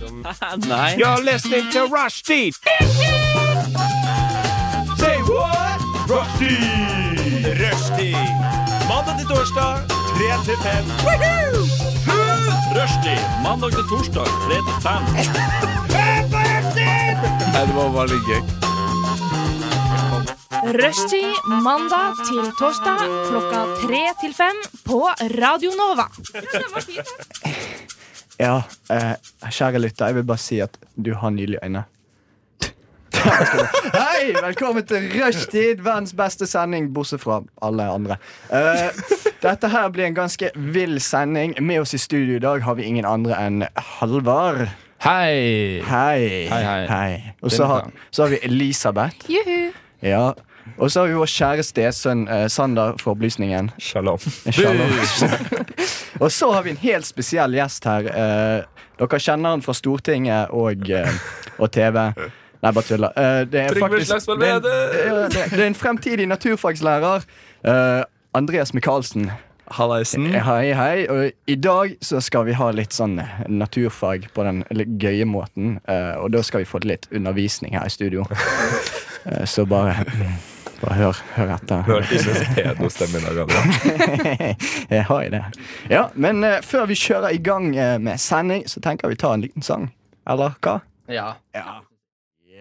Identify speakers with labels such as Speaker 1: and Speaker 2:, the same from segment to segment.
Speaker 1: som
Speaker 2: Nei.
Speaker 3: You're listening to Rushdie! Say what? Rushdie! Rushdie! Mandag til torsdag, 3 til 5. Rushdie! Mandag til torsdag, 3 til 5.
Speaker 2: Nei, det var bare litt gøy.
Speaker 4: Rushtid mandag til torsdag klokka tre til fem på Radio Nova.
Speaker 5: Ja, eh, kjære lytter, jeg vil bare si at du har nydelige øyne. Hei! Velkommen til Rushtid, verdens beste sending, bortsett fra alle andre. Eh, dette her blir en ganske vill sending. Med oss i studio i dag har vi ingen andre enn Halvard.
Speaker 2: Hei!
Speaker 5: Hei.
Speaker 2: Hei, hei.
Speaker 5: Og så har, så har vi Elisabeth.
Speaker 4: Juhu.
Speaker 5: Ja. Og så har vi vår kjære stesønn eh, Sander for opplysningen.
Speaker 1: Shalom.
Speaker 5: Shalom. og så har vi en helt spesiell gjest her. Eh, dere kjenner han fra Stortinget og, eh, og TV. Nei, bare tuller. Eh, det, er
Speaker 1: Trygve
Speaker 5: faktisk,
Speaker 1: Slagsvold
Speaker 5: det, er en,
Speaker 1: Vedum!
Speaker 5: det, er- det er en fremtidig naturfagslærer. eh, Andreas Michaelsen. Eh,
Speaker 1: Hallaisen.
Speaker 5: Hei, hei. Og I dag så skal vi ha litt sånn naturfag på den litt gøye måten. eh, og da skal vi få litt undervisning her i studio. Eh, så bare, bare hør, hør etter.
Speaker 1: Hørte ikke en pedostemmen i dag. altså.
Speaker 5: Jeg har jo det. Ja, Men eh, før vi kjører i gang eh, med sending, så tenker vi ta en liten sang. Eller hva?
Speaker 2: Ja.
Speaker 5: Ja.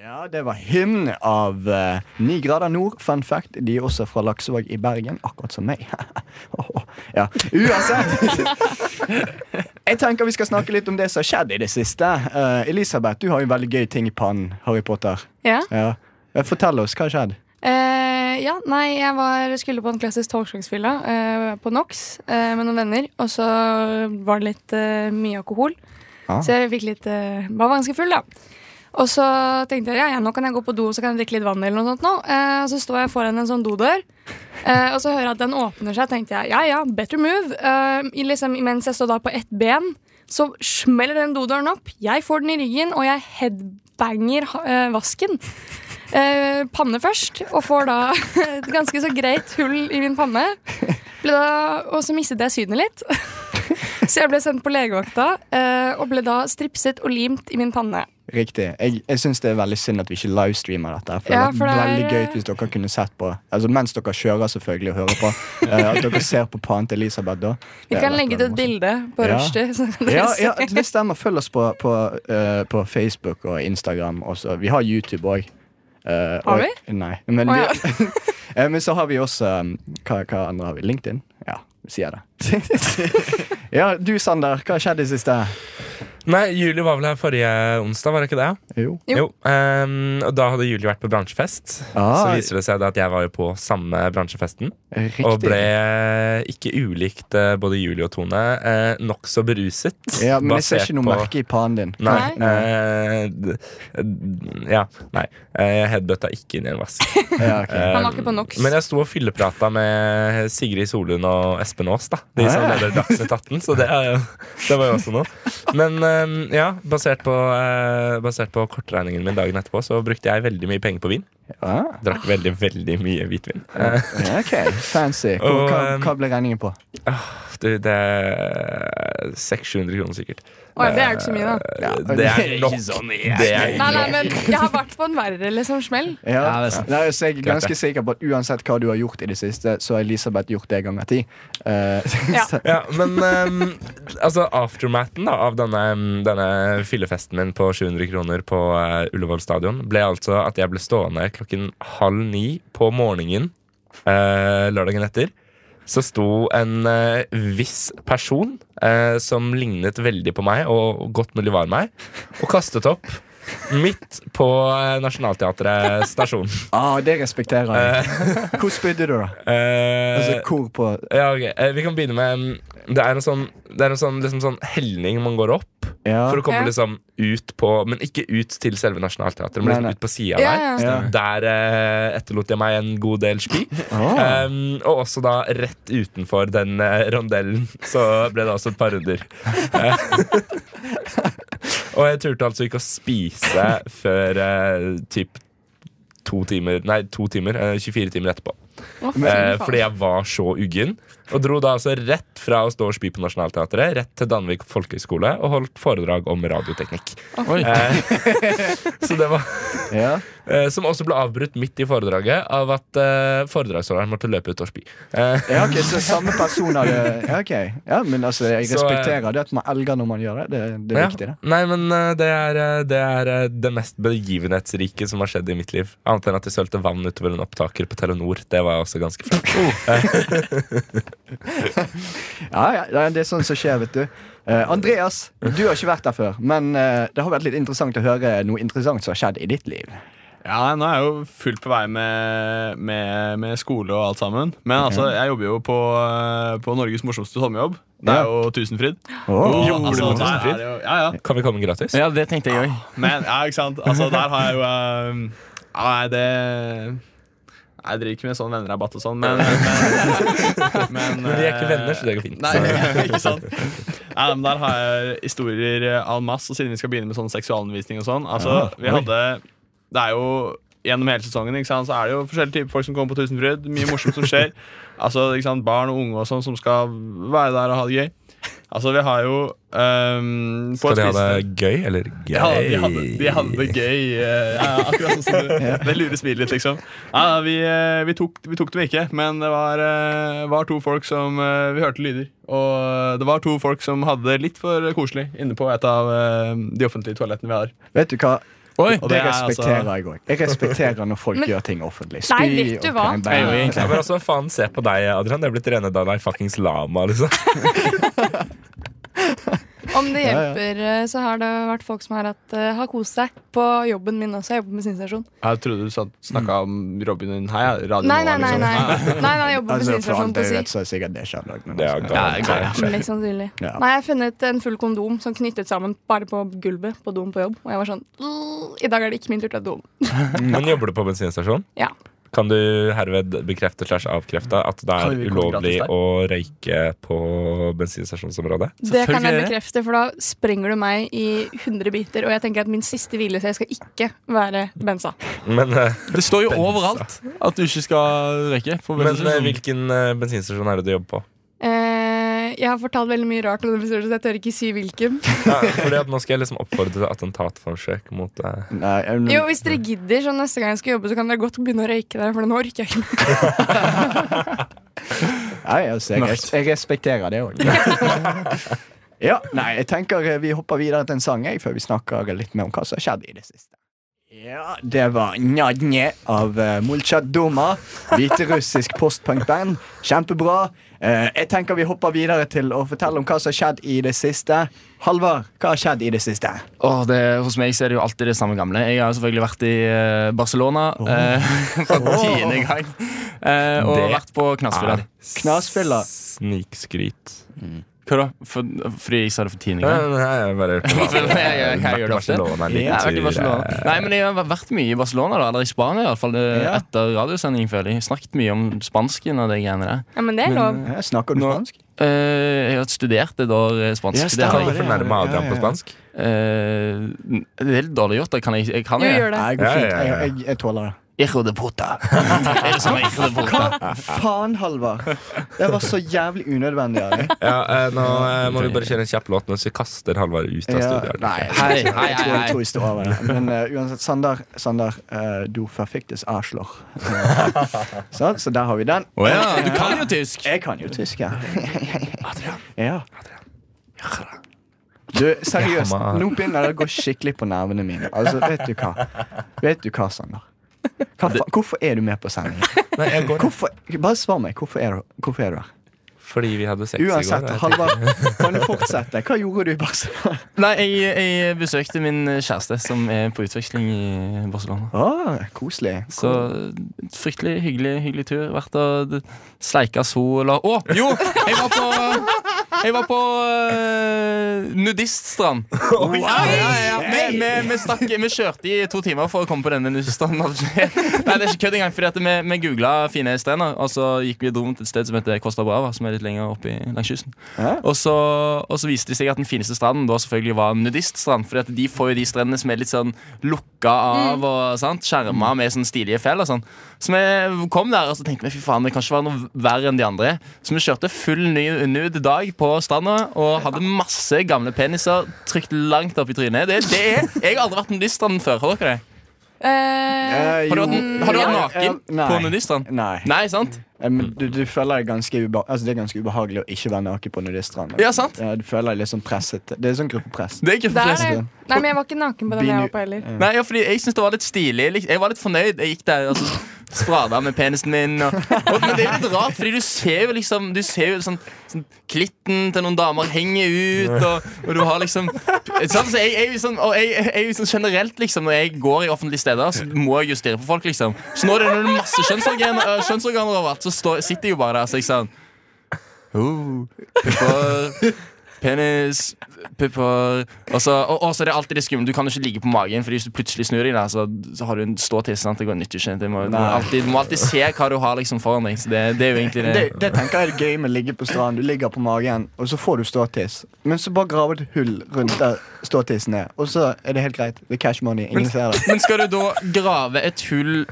Speaker 5: Ja, det var hymn av eh, Ni grader nord. Fun fact, de er også fra Laksevåg i Bergen, akkurat som meg. Åh, åh. ja, Uansett. Jeg tenker vi skal snakke litt om det som har skjedd i det siste. Eh, Elisabeth, du har jo en veldig gøy ting i pannen. Harry Potter.
Speaker 6: Ja.
Speaker 5: Ja. Eh, Fortell oss, hva har skjedd?
Speaker 6: Eh, ja, nei, jeg var, skulle på en klassisk togsjangsfylla eh, på NOx eh, med noen venner. Og så var det litt eh, mye alkohol,
Speaker 5: Ah.
Speaker 6: så jeg fikk litt eh, Var ganske full, da. Og så tenkte jeg ja, ja, nå kan jeg gå på do så kan jeg drikke litt vann. eller noe sånt nå eh, Og så står jeg foran en sånn dodør, eh, og så hører jeg at den åpner seg. tenkte jeg, ja ja, better move eh, i liksom, Mens jeg står da på ett ben, så smeller den dodøren opp. Jeg får den i ryggen, og jeg headbanger ha- eh, vasken eh, panne først, og får da et ganske så greit hull i min panne. Ble da, og så mistet jeg synet litt. Så jeg ble sendt på legevakta eh, og ble da stripset og limt i min panne.
Speaker 5: Riktig. Jeg, jeg syns det er veldig synd at vi ikke livestreamer dette. For
Speaker 6: Ja,
Speaker 5: det
Speaker 6: for det
Speaker 5: hadde vært
Speaker 6: er-
Speaker 5: veldig gøy hvis dere kunne sett på Altså mens dere kjører, selvfølgelig, og hører på. eh, at dere ser på pannen til Elisabeth da.
Speaker 6: Vi
Speaker 5: Det
Speaker 6: kan
Speaker 5: hadde
Speaker 6: legge ut
Speaker 5: vært
Speaker 6: et
Speaker 5: veldig
Speaker 6: bilde på
Speaker 5: Ja.
Speaker 6: rushtid. så kan
Speaker 5: morsomt.
Speaker 6: dere
Speaker 5: Ja,
Speaker 6: se.
Speaker 5: ja, det stemmer. Følg oss på, på, eh, på Facebook og Instagram også. Vi har YouTube òg.
Speaker 6: Har
Speaker 5: Nei. Men,
Speaker 6: Å, ja.
Speaker 5: vi, eh, men så har vi også eh, hva, hva andre har vi? LinkedIn? Ja, sier jeg det. ja, du Sander, hva har skjedd i det siste?
Speaker 1: Nei, Julie var vel her forrige onsdag, var det ikke det?
Speaker 5: Jo.
Speaker 6: Jo.
Speaker 1: ehm, og da hadde Julie vært på bransjefest.
Speaker 5: Ah,
Speaker 1: så viser det seg da at jeg var jo på samme bransjefesten.
Speaker 5: Riktig.
Speaker 1: Og ble ikke ulikt eh, både Julie og Tone. Eh, Nokså beruset.
Speaker 5: ja, men jeg ser
Speaker 1: basert
Speaker 5: ikke noe
Speaker 1: på-
Speaker 5: merke i pannen din.
Speaker 1: Nei.
Speaker 6: Nei.
Speaker 1: eh, d- d- ja, nei. Eh, Jeg headbutta ikke inn i en vask.
Speaker 5: Ja, ok.
Speaker 1: Eh,
Speaker 6: Han var ikke på NOx.
Speaker 1: Men jeg sto og fylleprata med Sigrid Solund og Espen Aas, da. De som
Speaker 5: Ah, ja.
Speaker 1: leder Dagsnytt 18, så det, er jo, det var jo også noe. Men eh, ja, basert på, eh, basert på kortregningen min dagen etterpå, så brukte jeg veldig mye penger på vin.
Speaker 5: Ah.
Speaker 1: Drakk veldig, veldig mye hvitvin. Eh,
Speaker 5: Ja, Ok, fancy. Hvor,
Speaker 1: Og,
Speaker 5: hva,
Speaker 1: um,
Speaker 5: hva ble regningen på?
Speaker 1: Du, det er 600 kroner sikkert.
Speaker 6: Å, det er jo ikke så mye, da.
Speaker 1: Eh, Det er nok.
Speaker 5: sånn
Speaker 1: Det er
Speaker 6: Nei, nei,
Speaker 1: nok.
Speaker 6: men jeg har vært på en verre liksom smell.
Speaker 2: Ja, det er sant.
Speaker 5: Nei, så jeg er
Speaker 1: Klart det.
Speaker 5: ganske sikker på at uansett hva du har gjort i det siste, så har Elisabeth gjort det ganger ti. Eh,
Speaker 6: Ja.
Speaker 5: så-
Speaker 1: Ja, men ehm, altså aftermathen da, av denne, ehm, denne fyllefesten min på 700 kroner på eh, Ullevål stadion ble altså at jeg ble stående klokken halv ni på morgenen eh, lørdagen etter. Så sto en eh, viss person eh, som lignet veldig på meg, og godt mulig var meg, og kastet opp midt på eh, Nationaltheatret stasjon.
Speaker 5: Ah, det respekterer jeg. Hvor spydde du, da?
Speaker 1: Eh,
Speaker 5: Altså, hvor på
Speaker 1: ja, ok. Eh, Vi kan begynne med mm, Det er en sånn, det er en sånn, liksom sånn helning man går opp
Speaker 5: Ja.
Speaker 1: for å komme
Speaker 6: Ja.
Speaker 1: liksom ut på Men ikke ut til selve Nationaltheatret, men
Speaker 5: Nei,
Speaker 1: liksom
Speaker 5: nei.
Speaker 1: ut på sida
Speaker 6: Ja,
Speaker 1: der.
Speaker 5: ja.
Speaker 1: Der eh, etterlot jeg meg en god del spy.
Speaker 5: Ah.
Speaker 1: Um, og også da rett utenfor den eh, rondellen så ble det også et par runder. Eh, og jeg turte altså ikke å spise før eh, typ to timer Nei, to timer. eh, 24 timer etterpå.
Speaker 6: Å, fy
Speaker 1: Eh,
Speaker 6: faen.
Speaker 1: fordi jeg var så uggen. Og dro da altså rett fra å stå og spy på Nationaltheatret rett til Danvik folkehøgskole og holdt foredrag om radioteknikk. Eh,
Speaker 2: Oi.
Speaker 1: Så det var
Speaker 5: Ja.
Speaker 1: Eh, som også ble avbrutt midt i foredraget av at eh, foredragsholderen måtte løpe ut og spy. Eh,
Speaker 5: ja, ok, Så samme person hadde ja, ok. ja, men altså, jeg
Speaker 1: Så, eh,
Speaker 5: respekterer det at man elger når man gjør det. Det, det er
Speaker 1: ja.
Speaker 5: viktig, det.
Speaker 1: Nei, men eh, det er, eh, det er eh, det mest begivenhetsrike som har skjedd i mitt liv. Annet enn at jeg sølte vann utover en opptaker på Telenor. Det var jeg også ganske flink.
Speaker 5: Ja, ja, det er- det er sånn som skjer, vet du. Eh, Andreas, du har ikke vært der før, men eh, det har vært litt interessant å høre noe interessant som har skjedd i ditt liv.
Speaker 2: Ja, nå er jeg jo fullt på vei med, med, med skole og alt sammen. Men
Speaker 1: Mhm.
Speaker 2: altså, jeg jobber jo på, eh, på Norges morsomste sommerjobb. Det er jo Tusenfryd.
Speaker 1: Oh.
Speaker 5: Åh.
Speaker 2: Og, altså,
Speaker 1: på
Speaker 2: der er
Speaker 1: Tusenfryd?
Speaker 2: det jo- Ja, ja.
Speaker 1: Kan vi komme gratis?
Speaker 7: Ja, det tenkte jeg òg.
Speaker 2: Men ja, ikke sant? Altså, der har jeg jo um, ja, Nei, det Nei, Jeg driver ikke med sånn vennerabatt og sånn, men Men,
Speaker 1: Men vi er ikke venner, så det går fint.
Speaker 2: Nei,
Speaker 1: Så-
Speaker 2: ikke sant? Nei, men der har jeg historier eh, en masse, og siden vi skal begynne med sånn seksualundervisning og sånn Altså, vi hadde Det er jo Gjennom hele sesongen ikke sant? så er det jo forskjellige typer folk som kommer på Tusenfryd. Mye morsomt som skjer. Altså, ikke sant? Barn og unge og sånn som skal være der og ha det gøy. Altså, vi har jo um, på
Speaker 1: Skal
Speaker 2: et
Speaker 1: de ha
Speaker 2: spisested-
Speaker 1: det gøy eller gøy?
Speaker 2: ja, de hadde, de hadde det gøy. eh, Ja, ja, akkurat sånn som du. Det lurer smilet litt, liksom. Ja, ja, vi, eh, vi, tok, vi tok dem ikke, men det var, eh, var to folk som eh, Vi hørte lyder. Og eh, det var to folk som hadde det litt for koselig inne på et av eh, de offentlige toalettene vi har.
Speaker 5: Vet du hva?
Speaker 7: Oi,
Speaker 2: Og
Speaker 5: Det
Speaker 2: det er altså-
Speaker 5: respekterer jeg òg. Jeg respekterer når folk
Speaker 6: Men-
Speaker 5: gjør ting offentlig.
Speaker 6: Nei, vet du
Speaker 5: og
Speaker 6: hva?
Speaker 5: klemme bein.
Speaker 1: Ja, men altså, faen, se på deg, Adrian. Det er blitt rene Dalai fuckings Lama, liksom.
Speaker 6: Om det
Speaker 5: Ja, ja.
Speaker 6: hjelper, eh, så har det vært folk som har, hatt, eh, har kost seg på jobben min også. Jeg jobber på bensinstasjon.
Speaker 2: Jeg trodde du snakka om Robin Hund Hei, radioen liksom-
Speaker 6: Nei, nei, nei. nei, nei, nei jeg jobber på
Speaker 5: liksom. Altså, for
Speaker 6: bensinstasjon
Speaker 5: alt
Speaker 6: på
Speaker 5: jeg
Speaker 6: si.
Speaker 5: vet, så er sikkert det skjedd òg. men
Speaker 1: Det er
Speaker 5: altså,
Speaker 1: galt.
Speaker 6: Mest sannsynlig.
Speaker 5: Ja.
Speaker 6: Nei, jeg har funnet en full kondom som knyttet sammen bare på gulvet på doen på jobb. Og jeg var sånn "Åh, I dag er det ikke min tur til å doen.
Speaker 1: Men jobber du på bensinstasjon?
Speaker 6: Ja.
Speaker 1: Kan du herved bekrefte slash avkrefte at det
Speaker 2: Kan
Speaker 1: er
Speaker 2: vi komme
Speaker 1: ulovlig
Speaker 2: gratis der?
Speaker 1: å røyke på bensinstasjonsområdet?
Speaker 6: Det kan jeg
Speaker 7: Selvfølgelig er
Speaker 6: bekrefte, for da sprenger du meg i 100 biter. Og jeg tenker at min siste hvilested skal ikke være bensa.
Speaker 1: Men, eh,
Speaker 7: Det står jo overalt at du ikke skal røyke. på
Speaker 1: men eh,
Speaker 7: bensinstasjonen.
Speaker 1: hvilken eh, bensinstasjon er det du jobber på?
Speaker 6: Eh, jeg har fortalt veldig mye rart om den episoden, så jeg tør ikke si hvilken.
Speaker 1: Ja, fordi at Nå skal jeg liksom oppfordre til attentatforsøk mot eh,
Speaker 5: Nei, jeg-
Speaker 6: Jo, hvis dere gidder, så neste gang jeg skal jobbe, så kan dere godt begynne å røyke der, for nå orker jeg ikke mer.
Speaker 5: Nei, altså, jeg, res- jeg respekterer det òg. ja, nei, jeg tenker eh, vi hopper videre til en sang jeg, før vi snakker litt mer om hva som har skjedd i det siste. Ja, det var Njadnje av uh, Doma. Hviterussisk postpunkband. Kjempebra. Eh, jeg tenker vi hopper videre til å fortelle om hva som har skjedd i det siste. Halvard, hva har skjedd i det siste?
Speaker 7: Åh, det, hos meg så er det jo alltid det samme gamle. Jeg har jo selvfølgelig vært i eh, Barcelona eh, for tiende gang. Eh, og
Speaker 1: Det
Speaker 7: vært på knasfylla.
Speaker 1: er
Speaker 5: Knasfylla.
Speaker 1: Snikskryt.
Speaker 7: Hva da? For, fordi jeg sa det for tiende
Speaker 1: Nei,
Speaker 7: gang?
Speaker 1: nei, jeg bare hørte hva-
Speaker 7: Jeg- jeg- jeg gjør det ofte.
Speaker 1: Barcelona
Speaker 7: Ja, jeg har vært i
Speaker 1: liker
Speaker 7: Barcelona.
Speaker 1: tur, eh,
Speaker 7: Nei, men jeg har vært mye i Barcelona, da, eller i Spania i hvert fall, det-
Speaker 5: Ja.
Speaker 7: etter radiosendingen, føler jeg. Snakket mye om spansken og de greiene der.
Speaker 6: Ja, men det er lov.
Speaker 5: Eh, Snakker du
Speaker 7: Nå-
Speaker 5: spansk?
Speaker 7: Eh, jeg har studert det da, eh, spansk.
Speaker 5: Ja,
Speaker 7: det, har
Speaker 1: Kan du
Speaker 7: jeg,
Speaker 1: fornærme
Speaker 5: Ja,
Speaker 1: Adrian
Speaker 5: ja,
Speaker 1: på
Speaker 5: ja.
Speaker 1: spansk?
Speaker 7: eh, det er litt dårlig gjort, da. Kan jeg, jeg kan
Speaker 6: Jo,
Speaker 7: jeg.
Speaker 6: gjør det.
Speaker 5: Nei, det går
Speaker 1: Ja, ja,
Speaker 5: fint.
Speaker 1: ja, ja.
Speaker 5: Jeg, jeg, jeg tåler det.
Speaker 7: Hijo de puta. Er det sånn, hijo de puta?
Speaker 5: Faen, Halvard. Det var så jævlig unødvendig. Ari.
Speaker 1: Ja, eh, nå eh, må vi bare kjøre en kjapp låt mens vi kaster Halvard ut av
Speaker 5: Ja,
Speaker 1: studioet.
Speaker 5: nei,
Speaker 7: Hei, hei,
Speaker 5: Jeg tror jeg
Speaker 7: hei.
Speaker 5: tror jeg står over det. Men eh, uansett, Sander, Sander eh, du forfiktes Arschloch. så, så der har vi den.
Speaker 7: Å ja, du kan jo tysk.
Speaker 5: Jeg kan jo tysk, ja. ja. Du, seriøst,
Speaker 1: Ja, man.
Speaker 5: nå begynner det å gå skikkelig på nervene mine. Altså, Vet du hva, Vet du hva, Sander? Hva faen- hvorfor er du med på sending?
Speaker 1: Nei, jeg går
Speaker 5: Hvorfor, bare svar meg. Hvorfor er, du, hvorfor er du her?
Speaker 1: fordi vi hadde sex i
Speaker 5: Uansett,
Speaker 1: går. jeg
Speaker 5: Halvard, kan du fortsette? Hva gjorde du i Barcelona?
Speaker 7: Nei, jeg, jeg besøkte min kjæreste som er på utveksling i Barcelona.
Speaker 5: Ah, koselig.
Speaker 7: Så fryktelig hyggelig, hyggelig tur. Vært og d- sleika sola Å, jo! Jeg var på Jeg var på eh, nudiststrand. ja, ja, ja. Vi, vi, vi, stakk, vi kjørte i to timer for å komme på denne nudiststranden. altså. Nei, det er ikke kødd engang, fordi at vi, vi googla fine strender, og så gikk vi rundt et sted som heter Costa Brava, som er litt lenger oppe i- langs kysten.
Speaker 5: Ja.
Speaker 7: Og så, og så viste det seg at den fineste stranden da selvfølgelig var nudiststrand, fordi at de får jo de strendene som er litt sånn lukka
Speaker 5: Mm.
Speaker 7: av og sant, skjerma med sånn stilige fjell og sånn. Så vi kom der og så tenkte vi, fy faen, det kan ikke være noe verre enn de andre. Så vi kjørte full ny nude dag på stranda og hadde masse gamle peniser trykt langt opp i trynet. Det, det er, Jeg har aldri vært på nudiststranden før. Har dere det?
Speaker 6: Eh,
Speaker 5: Eh,
Speaker 7: Har du
Speaker 5: jo,
Speaker 7: vært, har du vært
Speaker 5: ja,
Speaker 7: naken
Speaker 5: nei.
Speaker 7: på nudiststrand?
Speaker 5: Nei.
Speaker 7: Nei, sant?
Speaker 5: Eh, Men du, du føler deg ganske ube altså, det er ganske ubehagelig å ikke være naken på nudiststranden.
Speaker 7: Ja, sant?
Speaker 5: Ja, du føler deg litt sånn presset. Det er sånn gruppepress.
Speaker 7: Det er ikke
Speaker 6: det
Speaker 7: for
Speaker 6: er
Speaker 7: flest.
Speaker 6: det. Nei, men jeg var ikke naken på den jeg
Speaker 5: Binu-
Speaker 6: var på heller.
Speaker 7: Nei, ja, fordi jeg synes det var litt stilig. Lik- Jeg var litt fornøyd. Jeg gikk der og så sprada med penisen min. Og, og, men det er jo litt rart, fordi du ser jo liksom Du ser jo sånn, sånn klitten til noen damer henger ut, og, og du har liksom sånn, så jeg, jeg, er jo sånn, Og jeg, jeg er jo sånn generelt, liksom, når jeg går i offentlige steder, så må jeg jo stirre på folk, liksom. Så når det er masse kjønnsorganer, øh, kjønnsorganer overalt, så står, sitter jeg jo bare der, så jeg sånn oh, pupper, Penis, pupper Og så og, og så er det alltid det skumle. Du kan jo ikke ligge på magen, Fordi hvis du plutselig snur deg, da, så, så har du en ståtiss. sant? Det går nytt ikke. Du må, du må,
Speaker 5: Nei.
Speaker 7: alltid, du må alltid se hva du har liksom foran deg. Så det, det er jo egentlig det.
Speaker 5: Det, det tenker jeg er det gøy med å ligge på stranden. Du ligger på magen, og så får du ståtiss. Men så bare graver du et hull rundt der ståtissen er, og så er det helt greit. Det er cash money. Ingen ser det.
Speaker 7: Men skal du da grave et hull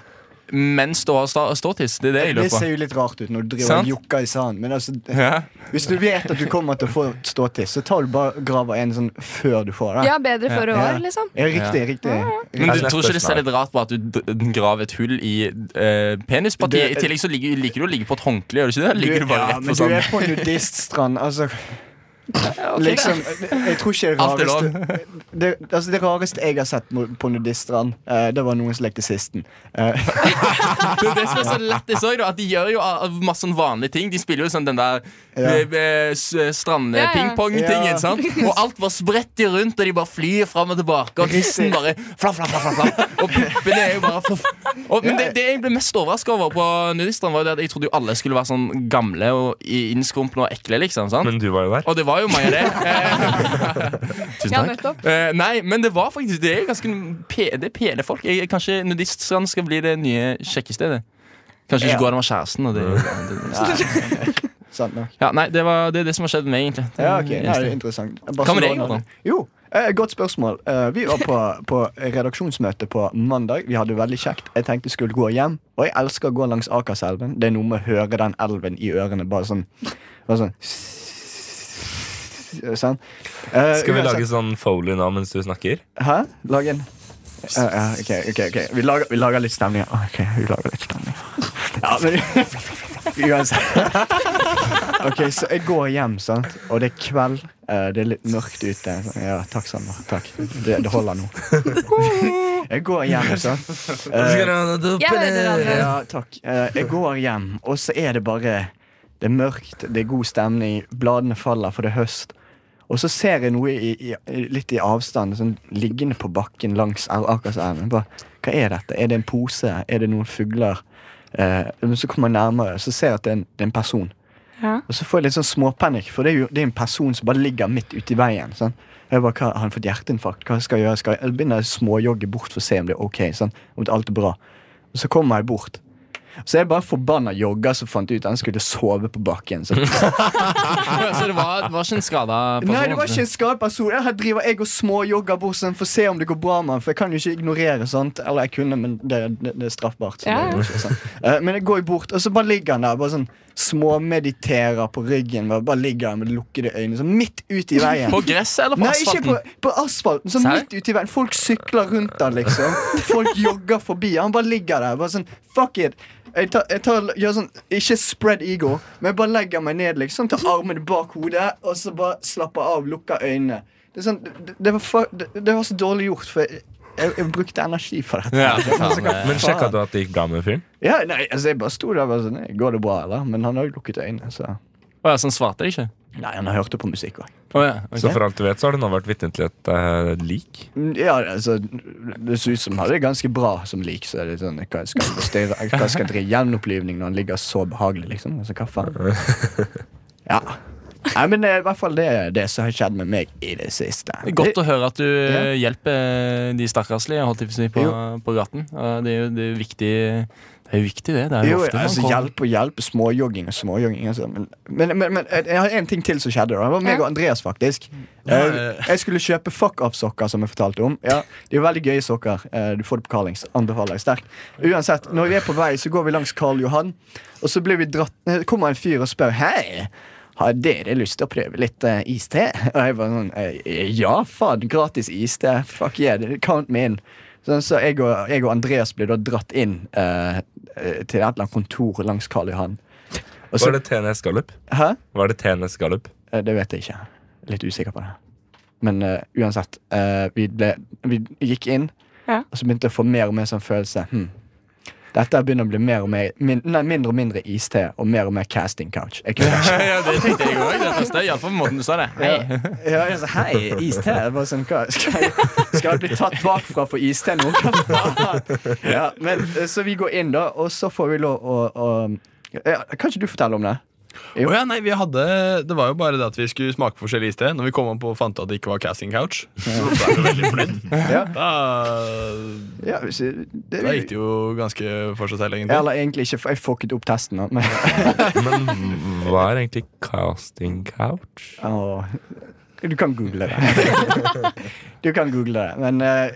Speaker 7: mens du har stå- ståtiss? Det er det jeg
Speaker 5: Det
Speaker 7: lurer på.
Speaker 5: ser jo litt rart ut når du driver
Speaker 7: Sant?
Speaker 5: og jokker i sanden, men altså
Speaker 7: Ja.
Speaker 5: Hvis du vet at du kommer til å få ståtiss, så tar du bare og graver en sånn før du får det.
Speaker 6: Ja, bedre før det var, liksom.
Speaker 5: Ja, riktig, riktig. Altså,
Speaker 7: Men du
Speaker 1: Neste
Speaker 7: tror ikke det ser
Speaker 1: spørsmål.
Speaker 7: litt rart på at du d- graver et hull i eh, penispartiet?
Speaker 5: Det-
Speaker 7: I tillegg så ligger, liker du å ligge på et håndkle, gjør du ikke det?
Speaker 5: Du,
Speaker 7: Ligger du bare
Speaker 5: ja,
Speaker 7: rett
Speaker 5: men
Speaker 7: på
Speaker 5: du
Speaker 7: sånn?
Speaker 5: er på nudiststrand, altså. Liksom, jeg tror ikke det
Speaker 7: Alt er
Speaker 5: rareste det, altså det rareste jeg har sett mo- på nudiststrand, eh, det var noen som lekte sisten. Eh,
Speaker 7: Det, er det som er så lættis òg, at de gjør jo av- av masse sånn vanlige ting. De spiller jo sånn den der eh, s- strand-pingpong-tingen.
Speaker 5: Ja, ja.
Speaker 7: sant? Og alt bare spretter rundt, og de bare flyr fram og tilbake. Og tissen bare flaff, flaff, flaff, flaff, flaff. Og puppene er jo bare flaff. og, Men det, det jeg ble mest overraska over på nudistene, var jo det at jeg trodde jo alle skulle være sånn gamle og i- innskrumpne og ekle, liksom. sant?
Speaker 1: Men du var jo der.
Speaker 7: Og det var jo mange av det. Eh,
Speaker 6: Ja, nettopp.
Speaker 7: eh, nei, men det var faktisk Det er ganske pe det er pene folk. Jeg, kanskje nudiststrand skal bli det nye sjekkestedet. Kanskje ikke
Speaker 5: Ja.
Speaker 7: gå an med kjæresten. Og det, det, det,
Speaker 5: sant nok.
Speaker 7: ja, nei, det, var, det er det som har skjedd med meg, egentlig. Det
Speaker 5: Ja,
Speaker 7: er
Speaker 5: ok,
Speaker 7: det
Speaker 5: ja, det er
Speaker 7: eneste.
Speaker 5: interessant.
Speaker 7: med deg,
Speaker 5: Barcelona-
Speaker 7: Adam?
Speaker 5: Jo, eh, godt spørsmål. Eh, vi var på, på redaksjonsmøte på mandag. Vi hadde det veldig kjekt. Jeg tenkte jeg skulle gå hjem, og jeg elsker å gå langs Akerselven. Det er noe med å høre den elven i ørene, bare sånn, bare sånn. Sånn. Eh,
Speaker 1: Skal vi
Speaker 5: uansett-
Speaker 1: lage sånn Foley nå mens du snakker?
Speaker 5: Hæ? Lag en Ja, ja, ok, ok, ok Vi lager, vi lager litt stemning ja. Ok, vi lager litt stemning Ja, men Uansett Ok, så jeg går hjem, sant Og det er kveld eh, Det er litt mørkt ute Ja, takk Sander, takk Det, det holder nå Jeg går hjem, sant Eh,
Speaker 6: Jeg hører aldri.
Speaker 5: ja, takk. Eh, jeg går hjem, og så er det bare Det er mørkt, det er god stemning, bladene faller, for det er høst. Og så ser jeg noe i, i, i- litt i avstand, sånn, liggende på bakken langs Au- Akerselven. Bare, Hva er dette? Er det en pose? Er det noen fugler? Eh, men så kommer jeg nærmere, så ser jeg at det er en, det er en person.
Speaker 6: Ja.
Speaker 5: Og så får jeg litt sånn småpanikk, for det er jo det er en person som bare ligger midt ute i veien. Sånn. Jeg bare, hva, Har han fått hjerteinfarkt? Hva skal jeg gjøre? Skal jeg, jeg begynner å småjogge bort for å se om det er ok. Sånn. Om alt er bra. Og så kommer jeg bort. Så jeg bare forbanna jogger som fant ut at han skulle sove på bakken. Sånn.
Speaker 7: Så altså, det var, det var ikke en skada person? altså.
Speaker 5: Nei, det var ikke en skadet person. Jeg her driver jeg og småjogger bort sånn for å se om det går bra med han. For jeg kan jo ikke ignorere sånt. Eller jeg kunne, men det, det, det er straffbart. Så
Speaker 6: Ja, ja.
Speaker 5: det er ikke sånn. Eh, Men jeg går jo bort, og så bare ligger han der. Bare sånn småmediterer på ryggen. Bare, bare ligger han med lukkede øyne. Sånn midt ute i veien.
Speaker 7: På gresset eller på
Speaker 5: Nei, ikke
Speaker 7: asfalten?
Speaker 5: på, på asfalten. Sånn
Speaker 7: Serr?
Speaker 5: midt ute i veien. Folk sykler rundt han, liksom. Folk jogger forbi. Han bare ligger der. Bare sånn, fuck it. Jeg, tar, jeg tar, gjør sånn, Ikke spread ego, men jeg bare legger meg ned, liksom. Tar armene bak hodet, og så bare slapper av, lukker øynene. Det, er sånn, det, det, var, fa- det, det var så dårlig gjort, for jeg, jeg, jeg brukte energi for dette.
Speaker 7: Ja, for faen, eh.
Speaker 1: Men sjekka du at det gikk bra med fyren?
Speaker 5: Ja, nei, altså Jeg bare sto der og bare sånn «Nei, Går det bra, eller? Men han har jo lukket øynene, så
Speaker 7: Å ja, så han svarte deg ikke?
Speaker 5: Nei, han har hørt det på musikk òg.
Speaker 7: Å ja, ok.
Speaker 1: Så for alt du vet, så har du nå vært vitne til et eh, lik.
Speaker 5: Ja, altså Det ser ut som han er ganske bra som lik. Så er det sånn, Hva skal jeg styre Hva skal jeg drive gjenopplivning når han ligger så behagelig, liksom? Altså, hva faen? Ja. Nei, men det er i hvert fall det, det som har skjedd med meg i det siste.
Speaker 7: Godt å høre at du eh,
Speaker 5: Ja.
Speaker 7: hjelper de stakkarslige holdt jeg på, å si, på, på gaten. Og Det er jo det er viktig, det er jo viktig, det. Det er jo,
Speaker 5: Jo,
Speaker 7: ofte man
Speaker 5: altså
Speaker 7: kommer-
Speaker 5: hjelp og hjelp. Småjogging og småjogging. Altså. Men, men, men, men jeg har en ting til som skjedde. Da. Det var meg og Andreas, faktisk. Eh, Jeg skulle kjøpe fuck up-sokker, som jeg fortalte om. Ja, de er veldig gøye sokker. Eh, Du får det på Carlings. Anbefaler jeg sterkt. Uansett, når vi er på vei, så går vi langs Karl Johan, og så blir vi dratt eh, kommer en fyr og spør Hei! Har dere lyst til å prøve litt eh, iste? Og jeg var sånn eh, Ja, faen. Gratis iste. Fuck yeah. Count me in. Sånn, så jeg og, jeg og Andreas ble da dratt inn eh, eh, til et eller annet kontor langs Karl Johan. Og så,
Speaker 1: Var det TNS Gallup?
Speaker 5: Hæ?
Speaker 1: Var det TNS Gallup?
Speaker 5: Eh, Det vet jeg ikke. Litt usikker på det. Men eh, uansett, eh, vi, ble, vi gikk inn,
Speaker 6: Ja.
Speaker 5: og så begynte jeg å få mer og mer sånn følelse. Hm. Dette begynner å bli mer og mer, min, nei, mindre og mindre iste og mer og mer casting couch. Jeg kunne ikke.
Speaker 7: ja, det tenkte jeg òg. Det første. Iallfall på måten du sa det. Hei.
Speaker 5: Ja, jeg sa, Hei, iste. Jeg bare sånn, hva, skal, jeg, skal jeg bli tatt bakfra for iste nå? Hva faen? Ja, men, eh, så vi går inn, da, og så får vi lov å, å ja, Kan ikke du fortelle om det? Jo.
Speaker 2: Å ja, nei, vi hadde, Det var jo bare det at vi skulle smake forskjellig iste. Når vi kom opp og fant at det ikke var casting couch, så ble vi veldig fornøyd.
Speaker 5: Ja.
Speaker 2: Da,
Speaker 5: Ja, hvis- det,
Speaker 2: da gikk det jo ganske for seg selv, egentlig.
Speaker 5: Eller egentlig ikke, for jeg fucket opp testen. da, Men,
Speaker 1: Men hva er egentlig casting couch?
Speaker 5: Åh, Du kan google det. Du kan google det. Men eh,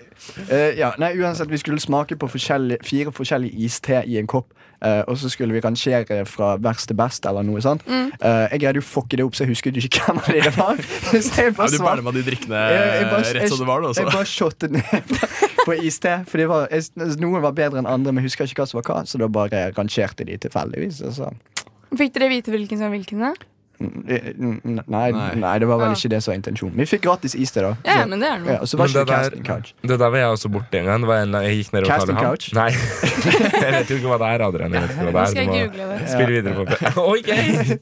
Speaker 5: eh, ja, nei, uansett, vi skulle smake på forskjellige, fire forskjellige iste i en kopp. eh, og så skulle vi rangere fra verst til best, eller noe sånt. Eh, jeg greide jo å fucke det opp, så jeg husket jo ikke hvem av de det var. Så jeg
Speaker 2: Mm. Ja,
Speaker 5: bare
Speaker 2: du
Speaker 5: svarte-
Speaker 2: pælma de drikkene
Speaker 5: jeg- jeg bare-
Speaker 2: rett som det var, altså. du
Speaker 5: Jeg
Speaker 2: også.
Speaker 5: bare shottet ned på- på iste. For det var, jeg, noen var bedre enn andre, men jeg husker ikke hva som var hva. Så da bare rangerte de tilfeldigvis. Og så.
Speaker 6: Fikk dere vite hvilken som var hvilken? da?
Speaker 5: Eh, N- n- Nei,
Speaker 2: Nei.
Speaker 5: nei, det var vel
Speaker 6: Ah.
Speaker 5: ikke det som var intensjonen. Vi fikk gratis is til, da.
Speaker 6: Ja,
Speaker 5: Så-
Speaker 6: men det er noe.
Speaker 5: ja, og så var
Speaker 1: Men
Speaker 5: ikke
Speaker 1: det
Speaker 5: det
Speaker 1: der-
Speaker 5: casting couch.
Speaker 1: Det der var jeg også borte en gang. Det var en, jeg gikk ned og
Speaker 5: Casting
Speaker 1: kalte han.
Speaker 5: couch?
Speaker 1: Nei. jeg vet jo ikke hva det er, Adrian. Jeg vet ikke hva
Speaker 6: Nå
Speaker 1: det
Speaker 6: skal
Speaker 1: er. Du
Speaker 6: jeg
Speaker 1: må
Speaker 6: google det.
Speaker 1: spille videre på det.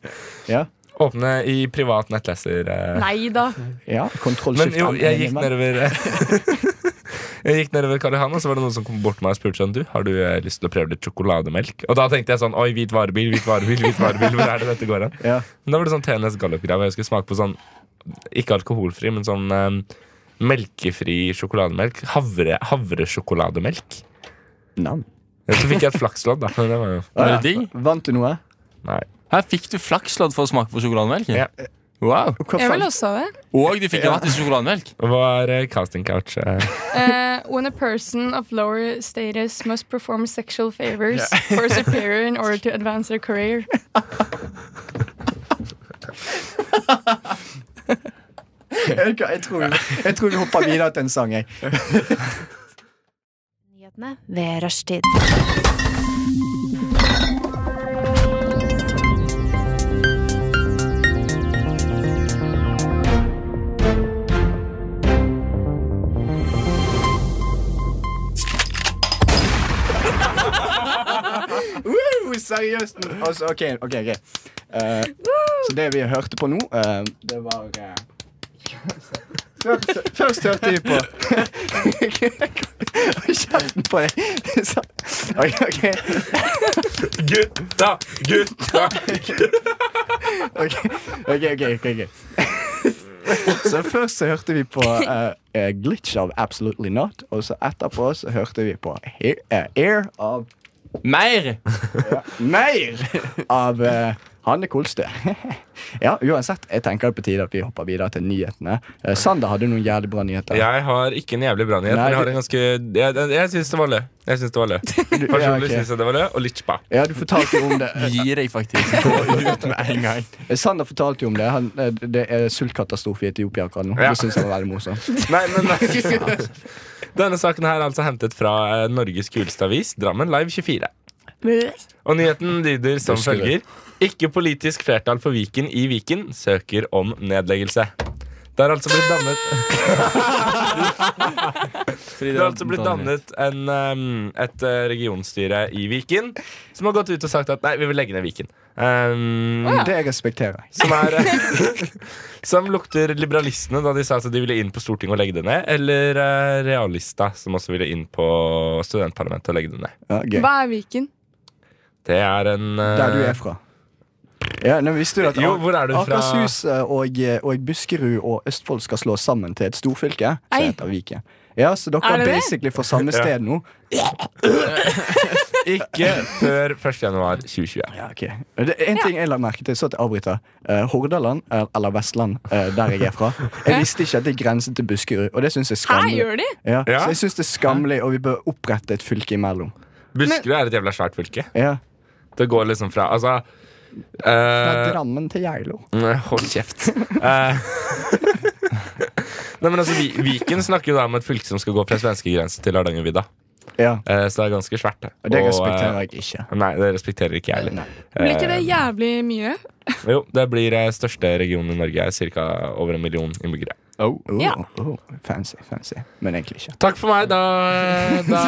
Speaker 5: Ja.
Speaker 1: Ok! Åpne i privat nettleser. eh.
Speaker 6: Nei da.
Speaker 5: Ja, kontroll
Speaker 1: Men
Speaker 5: shift
Speaker 1: jo,
Speaker 5: M
Speaker 1: jeg gikk
Speaker 5: innimellom.
Speaker 1: nedover Jeg gikk nedover Karl Johan, og så var det noen som kom bort til meg og spurte sånn Du, har du eh, lyst til å prøve litt sjokolademelk? Og da tenkte jeg sånn Oi, hvit varebil, hvit varebil, hvit varebil. Hvor er det dette går hen?
Speaker 5: Ja.
Speaker 1: Men da var det sånn TNS Gallup-greie, hvor jeg skulle smake på sånn Ikke alkoholfri, men sånn eh, melkefri sjokolademelk. Havre, havresjokolademelk.
Speaker 5: Nam.
Speaker 1: Ja, Så fikk jeg et flakslodd, da. Men det var jo
Speaker 7: Var det digg?
Speaker 5: Vant du noe?
Speaker 1: Nei.
Speaker 7: Her fikk du flakslodd for å smake på sjokolademelk.
Speaker 1: Ja.
Speaker 7: Wow.
Speaker 5: Hva
Speaker 6: Jeg
Speaker 5: faen?
Speaker 6: vil også ha det.
Speaker 7: Og du fikk gratis sjokolademelk.
Speaker 1: Hva er eh, casting couch? eh?
Speaker 6: Eh, when a person of lower status must perform sexual favors for superior in order to advance their career.
Speaker 5: Jeg, jeg, tror, vi- jeg tror vi hopper videre til en sang, jeg.
Speaker 8: Nyhetene ved rushtid.
Speaker 5: Woo, seriøst! nå. Altså, OK, ok, ok Eh, Så det vi hørte på nå, eh, det var eh, Først, først hørte vi på Hold Kjeften på deg! Så- OK. ok
Speaker 1: Gutta! Gutta!
Speaker 5: Ok, ok, ok, ok, ok. Så først så hørte vi på eh, eh, Glitch av Absolutely Not, og så etterpå så hørte vi på He eh, Air av
Speaker 7: Mer!
Speaker 5: Meir av eh, Hanne Kolstø. ja, uansett, jeg tenker det på tide at vi hopper videre til nyhetene. Eh, Sander hadde noen jævlig bra nyheter.
Speaker 1: Jeg har ikke en jævlig bra nyhet,
Speaker 5: Nei,
Speaker 1: men jeg har
Speaker 5: du-
Speaker 1: en ganske Jeg, jeg, jeg syns det var lø. Jeg syns det var lø. Personlig
Speaker 5: ja, ok.
Speaker 1: syns jeg det var lø, og litt spa.
Speaker 5: Ja, du fortalte jo om det.
Speaker 7: Gi deg, faktisk. Gå ut med en gang.
Speaker 5: Eh, Sander fortalte jo om det. Han, eh, det er sultkatastrofe i Etiopia akkurat nå.
Speaker 1: Ja.
Speaker 5: Det synes jeg var veldig morsomt.
Speaker 1: Nei, men Denne saken her er altså hentet fra eh, Norges kuleste avis, Drammen Live 24. Og nyheten lyder som
Speaker 5: Husker
Speaker 1: følger.
Speaker 5: det.
Speaker 1: Ikke politisk flertall for Viken i Viken søker om nedleggelse. Det er altså blitt dannet Det har altså blitt dannet en, ehm, et eh, regionstyre i Viken som har gått ut og sagt at nei, vi vil legge ned Viken. Ehm,
Speaker 5: Det respekterer jeg.
Speaker 1: som, er, eh, som lukter liberalistene da de sa at de ville inn på Stortinget og legge det ned. Eller eh, realista, som også ville inn på studentparlamentet og legge det ned.
Speaker 5: Ja, gøy.
Speaker 6: Hva er Viken?
Speaker 1: Det er en eh,
Speaker 5: Der du er fra. Ja, nei, visste du at
Speaker 1: Jo, hvor er du fra?
Speaker 5: Akershus eh, og, og Buskerud og Østfold skal slås sammen til et storfylke? Så
Speaker 6: Ei.
Speaker 5: heter Viken. Ja, så dere
Speaker 6: Er
Speaker 5: er
Speaker 6: det det?
Speaker 5: basically fra samme sted nå.
Speaker 1: Ikke før 1. januar 2020.
Speaker 5: Ja, ok det, er En ting jeg la merke til, så at jeg avbryter. Eh, Hordaland, eh, eller Vestland, eh, der jeg er fra Jeg visste ikke at det grenset til Buskerud, og det syns jeg er
Speaker 6: Hæ,
Speaker 5: skammelig.
Speaker 6: gjør de?
Speaker 5: Ja,
Speaker 1: Ja.
Speaker 5: Så jeg synes det er skammelig, og vi bør opprette et fylke imellom.
Speaker 1: Buskerud er et jævla svært fylke.
Speaker 5: Ja.
Speaker 1: Det går liksom fra Altså eh,
Speaker 5: Fra Drammen til Geilo.
Speaker 1: Nei, Hold kjeft. Eh, Nei, men altså, Vi- Viken snakker jo da om et fylke som skal gå fra svenskegrensen til Hardangervidda.
Speaker 5: Ja,
Speaker 1: Eh, så det er ganske svært. det.
Speaker 5: og det
Speaker 1: eh,
Speaker 5: respekterer jeg ikke.
Speaker 1: Nei, det respekterer ikke jeg heller.
Speaker 6: Blir ikke det jævlig mye?
Speaker 1: Jo, det blir eh, største regionen i Norge. Cirka over en million innbyggere.
Speaker 5: Oh,
Speaker 6: Ja.
Speaker 5: oh, fancy, fancy. Men egentlig ikke.
Speaker 1: Takk for meg. Da, da,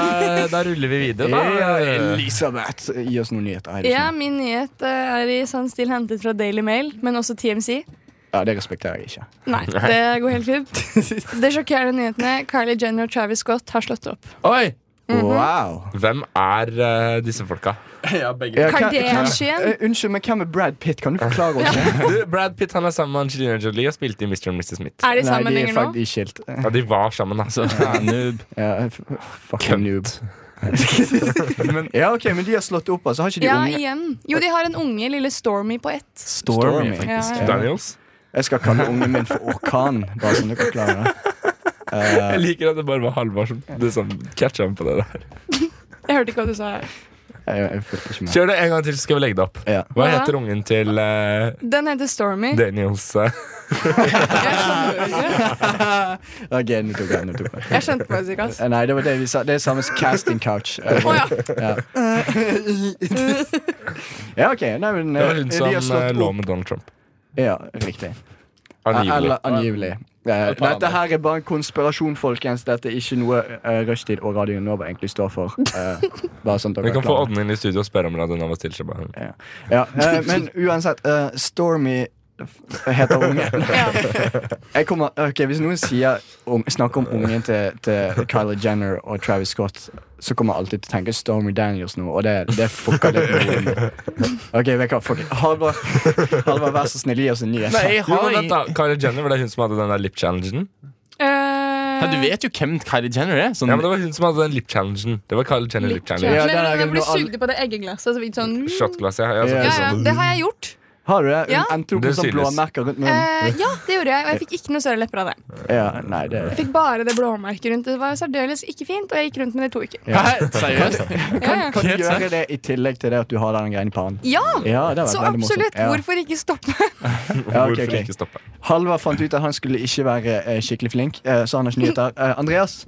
Speaker 1: da ruller vi videre, da.
Speaker 5: Elisabeth, gi oss noen nyheter. Hei, det er
Speaker 6: Eh, Ja,
Speaker 5: sånn.
Speaker 6: min nyhet eh, er i sånn stil hentet fra Daily Mail, men også TMC.
Speaker 5: ja, det respekterer jeg ikke.
Speaker 6: Nei, det går helt fint. Det sjokkerende nyhetene. Kylie Jenner og Travis Scott har slått opp.
Speaker 1: Oi!
Speaker 6: Mhm.
Speaker 5: Wow.
Speaker 1: Hvem er eh, disse folka?
Speaker 2: Ja, begge.
Speaker 5: Ja, hvem-
Speaker 6: Kardashian.
Speaker 5: hvem- eh, Unnskyld, men hvem er Brad Pitt? Kan du forklare oss det?
Speaker 1: Du, Brad Pitt han er sammen med Angelina Jolie og spilte i Mr. og Mrs. Smith.
Speaker 6: Er de sammen
Speaker 5: Nei, de
Speaker 6: lenger
Speaker 5: er
Speaker 6: nå?
Speaker 5: faktisk skilt. Eh,
Speaker 1: Ja, De var sammen, altså.
Speaker 5: Ja, f- fucking
Speaker 1: Kønt.
Speaker 5: noob. ja, ok, men de har slått opp, altså. Har ikke de
Speaker 6: Ja,
Speaker 5: unge?
Speaker 6: igjen. Jo, de har en unge, lille Stormy, på ett.
Speaker 5: Stormy, faktisk.
Speaker 6: Ja, ja.
Speaker 5: Ja.
Speaker 1: Daniels.
Speaker 5: Jeg skal kalle ungen min for Orkan, bare sånn dere klarer det. Eh,
Speaker 1: Jeg liker at det bare var Halvard som liksom catcha ham på det der.
Speaker 6: Jeg hørte ikke hva du sa. her.
Speaker 5: jeg, jeg følte ikke med.
Speaker 1: Kjør det en gang til, så skal vi legge det opp.
Speaker 5: Ja.
Speaker 1: Hva
Speaker 6: Hva da?
Speaker 1: heter ungen til eh,
Speaker 6: Den heter Stormy.
Speaker 1: Daniels? eh?
Speaker 5: Ok, nå tok jeg, nå tok jeg.
Speaker 6: Jeg skjønte faktisk ikke, ass.
Speaker 5: Eh, Nei, det var det vi sa. Det er samme som casting couch. Eh,
Speaker 6: Å ja.
Speaker 5: ja. ja, ok. Nei, men
Speaker 1: det
Speaker 5: eh,
Speaker 1: var hun
Speaker 5: de har
Speaker 1: som eh,
Speaker 5: slått
Speaker 1: lå
Speaker 5: opp.
Speaker 1: med Donald Trump.
Speaker 5: Ja, riktig.
Speaker 1: Angivelig.
Speaker 5: Eller angivelig. Eh, dette her er bare en konspirasjon, folkens. Dette er ikke noe uh, rushtid og Radio Nova egentlig står for. Eh, bare sånn at
Speaker 1: Vi
Speaker 5: dere
Speaker 1: kan
Speaker 5: er
Speaker 1: få
Speaker 5: klar.
Speaker 1: Odden inn i studio og spørre om Radio Nova stiller seg bak henne.
Speaker 5: Ja, eh, men uansett, eh, Stormy f- heter ungen. Jeg kommer, ok, Hvis noen sier om, snakker om ungen til, til Kylie Jenner og Travis Scott, så kommer jeg alltid til å tenke Stormy Daniels nå, og det, det fucker litt med hodet mitt. Ok, vet du hva, fuck it. Halvard, Halvard, vær så snill, gi oss en nyhet.
Speaker 7: Nei,
Speaker 1: Jo, men vent da, Kylie Jenner, var det hun som hadde den der lip-challengen?
Speaker 6: Eh,
Speaker 7: Ja, du vet jo hvem Kylie Jenner er. Sånn,
Speaker 1: Ja, men det var hun som hadde den lip-challengen. Det var Kylie Jenner
Speaker 6: Nei,
Speaker 1: lip-challenge.
Speaker 5: Ja,
Speaker 6: nei,
Speaker 5: den er
Speaker 6: nei,
Speaker 5: ikke
Speaker 6: Den blir
Speaker 5: noe all-
Speaker 6: sugd på det eggeglasset. Så vi ikke sånn
Speaker 1: Shotglass, ja. ja, så-
Speaker 5: Ja,
Speaker 6: Ja, ja, det har jeg gjort.
Speaker 5: Har du det? Hun
Speaker 6: Ja.
Speaker 5: endte opp
Speaker 1: Det
Speaker 5: med sånn
Speaker 1: synes.
Speaker 5: blåmerker rundt munnen.
Speaker 6: Eh, ja, det gjorde jeg, og jeg fikk ikke noe større lepper av det.
Speaker 5: Ja, nei, det
Speaker 6: Jeg fikk bare det blåmerket rundt. Det var særdeles ikke fint, og jeg gikk rundt med det i to uker.
Speaker 5: ja.
Speaker 7: Hæ? Seriøst?
Speaker 6: Ja, ja.
Speaker 5: Kan du gjøre det i tillegg til det at du har den greien i pannen?
Speaker 6: ja
Speaker 5: Ja, det har vært
Speaker 6: så
Speaker 5: veldig morsomt.
Speaker 6: absolutt.
Speaker 5: Ja.
Speaker 6: Hvorfor ikke stoppe?
Speaker 5: Ja, ok,
Speaker 1: Hvorfor
Speaker 5: ok.
Speaker 1: ikke stoppe?
Speaker 5: Halvard fant ut at han skulle ikke være eh, skikkelig flink, eh, så han har ikke nyheter. Eh, Andreas?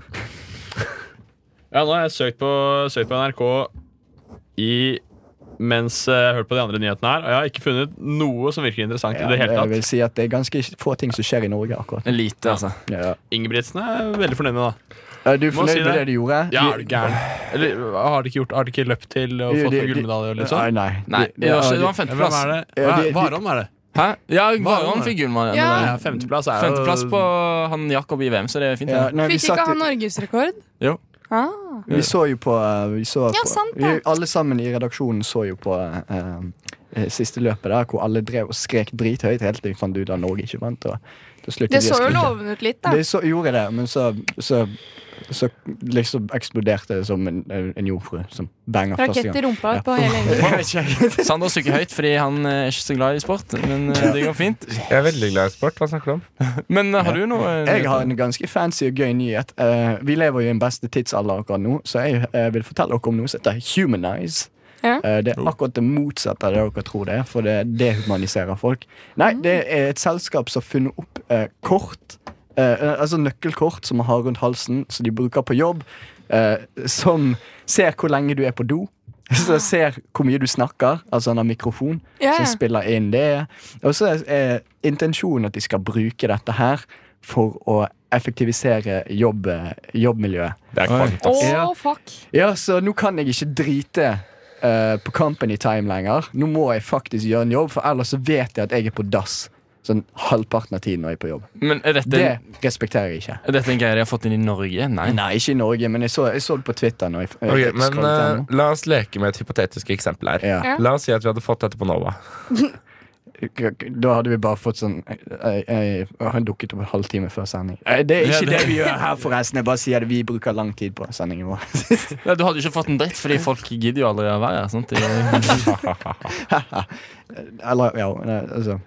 Speaker 2: Ja, nå har jeg søkt på, søkt på NRK i mens eh, jeg har hørt på de andre nyhetene her, og jeg har ikke funnet noe som virker interessant i det hele
Speaker 5: jeg
Speaker 2: tatt.
Speaker 5: eh, vil si at det er ganske få ting som skjer i Norge akkurat.
Speaker 7: Lite, altså.
Speaker 5: Ja.
Speaker 2: Ingebrigtsen er veldig fornøyd med det.
Speaker 5: Er
Speaker 2: da.
Speaker 5: Eh, du fornøyd
Speaker 2: si
Speaker 5: med
Speaker 2: det.
Speaker 5: det du gjorde?
Speaker 2: Ja, er du gæren? Eller har de ikke gjort, har de ikke løpt til og
Speaker 5: Jo,
Speaker 2: fått
Speaker 5: de-
Speaker 2: noen gullmedalje? eller sånn?
Speaker 5: Nei, nei.
Speaker 7: Nei,
Speaker 5: De-
Speaker 7: det var, ikke, det var en
Speaker 2: Ja, Hvem
Speaker 7: femteplass.
Speaker 2: er det?
Speaker 5: Ja,
Speaker 2: Hva
Speaker 5: de- de-
Speaker 2: er- Varon, er det?
Speaker 7: Hæ? Ja, Varon
Speaker 2: Varon.
Speaker 7: fikk gullmedalje.
Speaker 6: Ja.
Speaker 2: Ja, femteplass er jo
Speaker 7: Femteplass på han Jakob i VM, så det er fint.
Speaker 5: ja,
Speaker 7: det.
Speaker 5: nei, vi,
Speaker 6: Fikk
Speaker 5: satt,
Speaker 6: ikke han norgesrekord?
Speaker 7: Jo.
Speaker 6: Ah.
Speaker 5: vi så jo på, eh, vi så
Speaker 6: Ja,
Speaker 5: på
Speaker 6: sant det.
Speaker 5: vi, Alle sammen i redaksjonen så jo på eh, eh, siste løpet der, hvor alle drev og skrek drithøyt helt til vi fant ut at Norge ikke vant. Og, da sluttet
Speaker 6: Det
Speaker 5: de å
Speaker 6: så jo
Speaker 5: skrike.
Speaker 6: lovende ut litt, da.
Speaker 5: Det så, gjorde det, men så, så, så liksom eksploderte det som en, en jordfru som banger første
Speaker 6: Rakett i
Speaker 5: gang.
Speaker 6: rumpa på hele gjengen.
Speaker 7: Sander sukker høyt fordi han eh, er ikke så glad i sport, men eh, det går fint.
Speaker 1: Jeg er veldig glad i sport. Hva snakker du om?
Speaker 7: Men eh, har du noe? eh,
Speaker 5: Jeg har en ganske fancy og gøy nyhet. Eh, vi lever jo i den beste tidsalder akkurat nå, så jeg eh, vil fortelle dere om noe som heter humanize.
Speaker 6: Ja.
Speaker 5: Eh, det er akkurat det motsatte av det dere tror det er, for det dehumaniserer folk. Nei,
Speaker 6: Mm.
Speaker 5: det er et selskap som har funnet opp eh, kort, eh, eh, altså nøkkelkort som man har rundt halsen, som de bruker på jobb, eh, som ser hvor lenge du er på do. Som ser hvor mye du snakker, altså han har mikrofon,
Speaker 6: Ah. Ja, ja.
Speaker 5: som spiller inn det. Og så er, er intensjonen at de skal bruke dette her for å effektivisere jobb, eh, jobbmiljøet.
Speaker 1: Det er kvant.
Speaker 6: Å,
Speaker 5: Ja.
Speaker 6: fuck.
Speaker 5: Ja, så nå kan jeg ikke drite eh, på company time lenger. Nå må jeg faktisk gjøre en jobb, for ellers så vet jeg at jeg er på dass. Sånn halvparten av tiden når jeg er på jobb.
Speaker 7: Men er dette,
Speaker 5: Det respekterer jeg ikke.
Speaker 7: er dette en greie de har fått inn i Norge? Nei.
Speaker 5: Nei, ikke i Norge, men jeg så, jeg så det på Twitter. Når jeg, jeg,
Speaker 1: Ok, men
Speaker 5: scrollet
Speaker 1: eh,
Speaker 5: gjennom.
Speaker 1: La oss leke med et hypotetisk eksempel her.
Speaker 5: ja.
Speaker 6: Ja.
Speaker 1: La oss si at vi hadde fått dette på Nova.
Speaker 5: Da hadde vi bare fått sånn Jeg, jeg, jeg har dukket opp en halvtime før sending. Eh, Det er
Speaker 2: Ja,
Speaker 5: ikke
Speaker 2: det-
Speaker 5: det vi gjør her, forresten. Jeg bare sier det. Vi bruker lang tid på sendingen vår.
Speaker 7: Nei, du hadde jo ikke fått en dritt, fordi folk gidder jo aldri å være her. Sant? Det-
Speaker 5: Eller, ja, nei, altså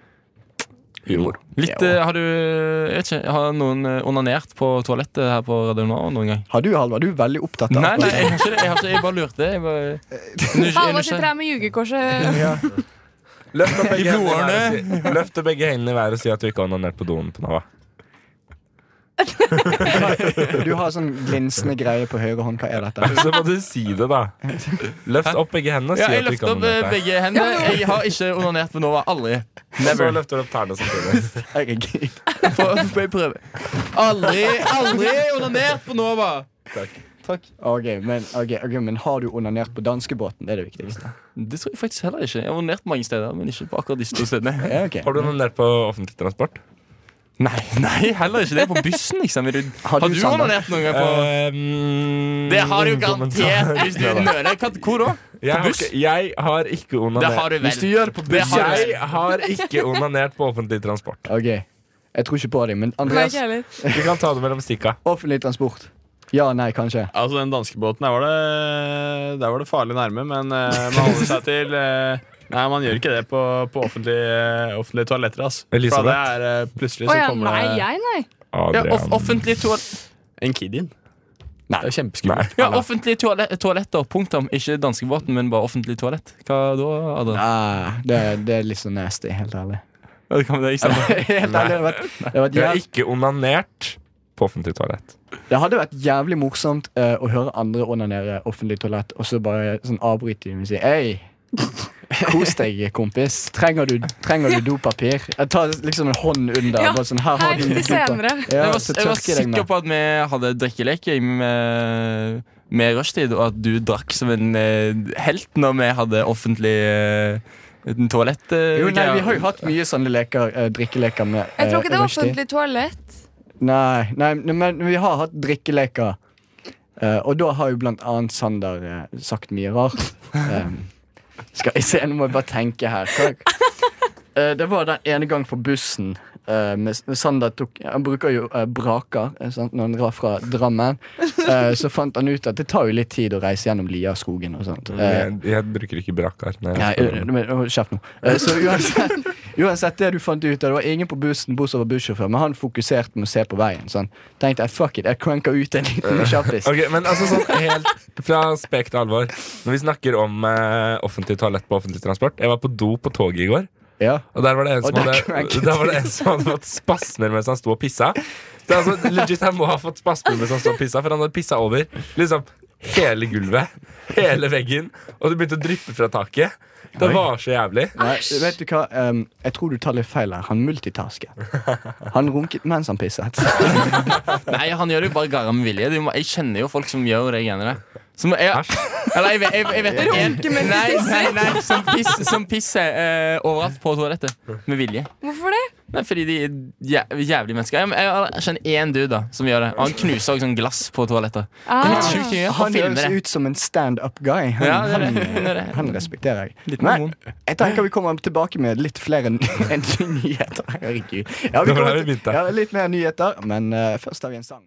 Speaker 5: Humor.
Speaker 7: Litt, eh, har du jeg vet ikke, Har noen eh, onanert på toalettet her på Radio Nova noen gang?
Speaker 5: Har du, Halvard, du er veldig opptatt av
Speaker 7: Nei, nei, jeg har ikke det. Jeg, har ikke, jeg bare lurte. Jeg bare, jeg,
Speaker 6: Eh, Halvor sitter her med jugekorset.
Speaker 1: Løft opp begge,
Speaker 7: I
Speaker 1: hendene, i
Speaker 7: blodårene.
Speaker 1: været og si- løft opp begge hendene i været og si at du ikke har onanert på doen på Nava.
Speaker 5: Du har sånn glinsende greie på høyre hånd. Hva er dette?
Speaker 1: Så må du si det, da. Løft opp begge hendene og si
Speaker 7: ja, jeg
Speaker 1: at du
Speaker 7: løfter opp
Speaker 1: ikke har
Speaker 7: eh,
Speaker 1: onanert der.
Speaker 7: begge hendene. Jeg har ikke onanert på Nova. Aldri.
Speaker 1: Og så
Speaker 7: Never.
Speaker 1: løfter du opp tærne samtidig.
Speaker 5: Herregud.
Speaker 7: Få- får jeg prøve. Aldri, aldri onanert på Nova.
Speaker 5: Ok, men, ok, ok, men har du onanert på danskebåten? Det er det viktigste.
Speaker 7: Det tror jeg faktisk heller ikke. Jeg har onanert mange steder, men ikke på akkurat disse to stedene.
Speaker 5: Ja, ok.
Speaker 1: Har du onanert på offentlig transport?
Speaker 7: Nei, nei, heller ikke det. På bussen, liksom. Er du- Har
Speaker 5: du,
Speaker 7: du Eh,
Speaker 5: Sander?
Speaker 7: onanert noen gang på
Speaker 1: Ehm,
Speaker 7: Det
Speaker 5: Mm,
Speaker 7: har du garantert hvis du nøler. Hva- Hvor da?
Speaker 1: Jeg har
Speaker 7: buss?
Speaker 1: ikke, jeg har ikke
Speaker 7: Det har
Speaker 1: onanert.
Speaker 7: du vel.
Speaker 5: Hvis du gjør det på
Speaker 7: Det har du vel.
Speaker 1: Jeg har ikke onanert på offentlig transport.
Speaker 5: Ok, jeg tror ikke på deg, men
Speaker 6: Nei,
Speaker 5: Andreas,
Speaker 6: ikke heller.
Speaker 1: Vi kan ta det mellom stikka.
Speaker 5: offentlig transport. Ja, nei, kanskje.
Speaker 2: Altså Den danskebåten, der var det, der var det farlig nærme, men eh, man holder seg til eh, Nei, man gjør ikke det på, på offentlige, offentlige toaletter. ass For
Speaker 1: Elisabeth?
Speaker 2: det er eh, Plutselig
Speaker 6: Å
Speaker 2: så
Speaker 6: ja,
Speaker 2: kommer
Speaker 6: nei,
Speaker 2: det
Speaker 6: jeg, nei.
Speaker 7: Ja,
Speaker 1: Adrian.
Speaker 7: off offentlig toal
Speaker 2: en kid inn.
Speaker 5: Nei.
Speaker 2: Det er kjempeskummelt.
Speaker 7: ja, offentlige toale toaletter. Punktum. Ikke danskebåten, men bare offentlig toalett. Hva da, Adrian?
Speaker 5: Ah, det, det er litt så nasty, helt ærlig.
Speaker 7: Ja, det kan være det,
Speaker 5: sånn-
Speaker 7: ikke sant?
Speaker 5: Helt ærlig, det, hadde vært, det, hadde vært
Speaker 1: Jeg har
Speaker 5: jæv,
Speaker 1: ikke onanert på offentlig toalett.
Speaker 5: det hadde vært jævlig morsomt eh, å høre andre onanere offentlig toalett, og så bare sånn avbryte dem og si Hei, kos deg, kompis. Trenger du, trenger du dopapir? Jeg tar liksom en hånd under.
Speaker 6: Ja,
Speaker 5: bare sånn, her har
Speaker 6: her
Speaker 5: du
Speaker 6: til
Speaker 5: dopapir.
Speaker 6: senere.
Speaker 5: Ja,
Speaker 7: jeg var, jeg
Speaker 5: så
Speaker 7: var
Speaker 5: tørker jeg deg med.
Speaker 7: sikker på at vi hadde drikkeleke med, med rushtid, og at du drakk som en eh, helt når vi hadde offentlig eh, en toalett. eh,
Speaker 5: Jo, nei,
Speaker 7: greier.
Speaker 5: vi har jo hatt mye sånne leker, eh, drikkeleker med
Speaker 6: Jeg tror ikke det
Speaker 5: eh,
Speaker 6: er
Speaker 5: rushtid.
Speaker 6: offentlig toalett.
Speaker 5: Nei, nei, nei, men vi har hatt drikkeleker. Eh, og da har jo blant annet Sander eh, sagt mye rart. Em, skal jeg se, nå må jeg bare tenke her. Hva, Eh, det var den ene gang på bussen. eh, med, Sander tok, han bruker jo eh, braker eh, sant, når han drar fra Drammen. Eh, så fant han ut at det tar jo litt tid å reise gjennom Liaskogen
Speaker 1: Mm,
Speaker 5: og sånt. Eh,
Speaker 1: Jeg, jeg bruker ikke brakkar. når
Speaker 5: Nei,
Speaker 1: jeg spiller om det.
Speaker 5: men, hold kjeft nå. Eh, Så uansett, uansett det du fant ut av, det var ingen på bussen bortsett fra bussjåfør, men han fokuserte med å se på veien. Så han tenkte jeg, fuck it, jeg cranker ut en liten kjappis.
Speaker 1: Ok, men altså sånn helt fra spek til alvor Når vi snakker om eh, offentlig toalett på offentlig transport Jeg var på do på toget i går
Speaker 5: Ja.
Speaker 1: Og der var det en
Speaker 5: Og
Speaker 1: som,
Speaker 5: der
Speaker 1: hadde,
Speaker 5: cranket
Speaker 1: der var det en som hadde fått spasmer mens han sto og pissa. Det er altså, legit, han må ha fått spasmer mens han sto og pissa, for han hadde pissa over liksom hele gulvet, hele veggen, og det begynte å dryppe fra taket. Det var så jævlig.
Speaker 5: Nei, vet du hva, em, jeg tror du tar litt feil her. Han multitasket. Han runket mens han pisset.
Speaker 7: Nei, han gjør det jo bare garra med vilje. Du må, jeg kjenner jo folk som gjør det greiene der. Som, jeg,
Speaker 1: Æsj.
Speaker 7: eller jeg, vet- jeg, jeg vet ikke en, nei, nei, nei, Som pisser, som pisser eh, overalt på toalettet. Med vilje.
Speaker 6: Hvorfor det?
Speaker 7: Nei, fordi de er jæv jævlige mennesker. Jeg, jeg, jeg kjenner én dude da som gjør det. Og han knuser også sånn glass på toalettet. Det er helt sjukt. å gjøre.
Speaker 5: Ah. Han
Speaker 7: Han filmer
Speaker 5: høres
Speaker 7: det.
Speaker 5: ut som en stand-up guy. Han,
Speaker 7: Ja, det er det.
Speaker 5: han,
Speaker 7: Det er det.
Speaker 5: han respekterer jeg.
Speaker 7: Litt
Speaker 5: Men
Speaker 7: mormon.
Speaker 5: jeg tenker vi kommer tilbake med litt flere n- enn nyheter. Herregud. Ja, vi
Speaker 1: Det var
Speaker 5: kommer
Speaker 1: der vi
Speaker 5: til-
Speaker 1: begynte.
Speaker 5: ja, litt mer nyheter, men eh, først har vi en sang.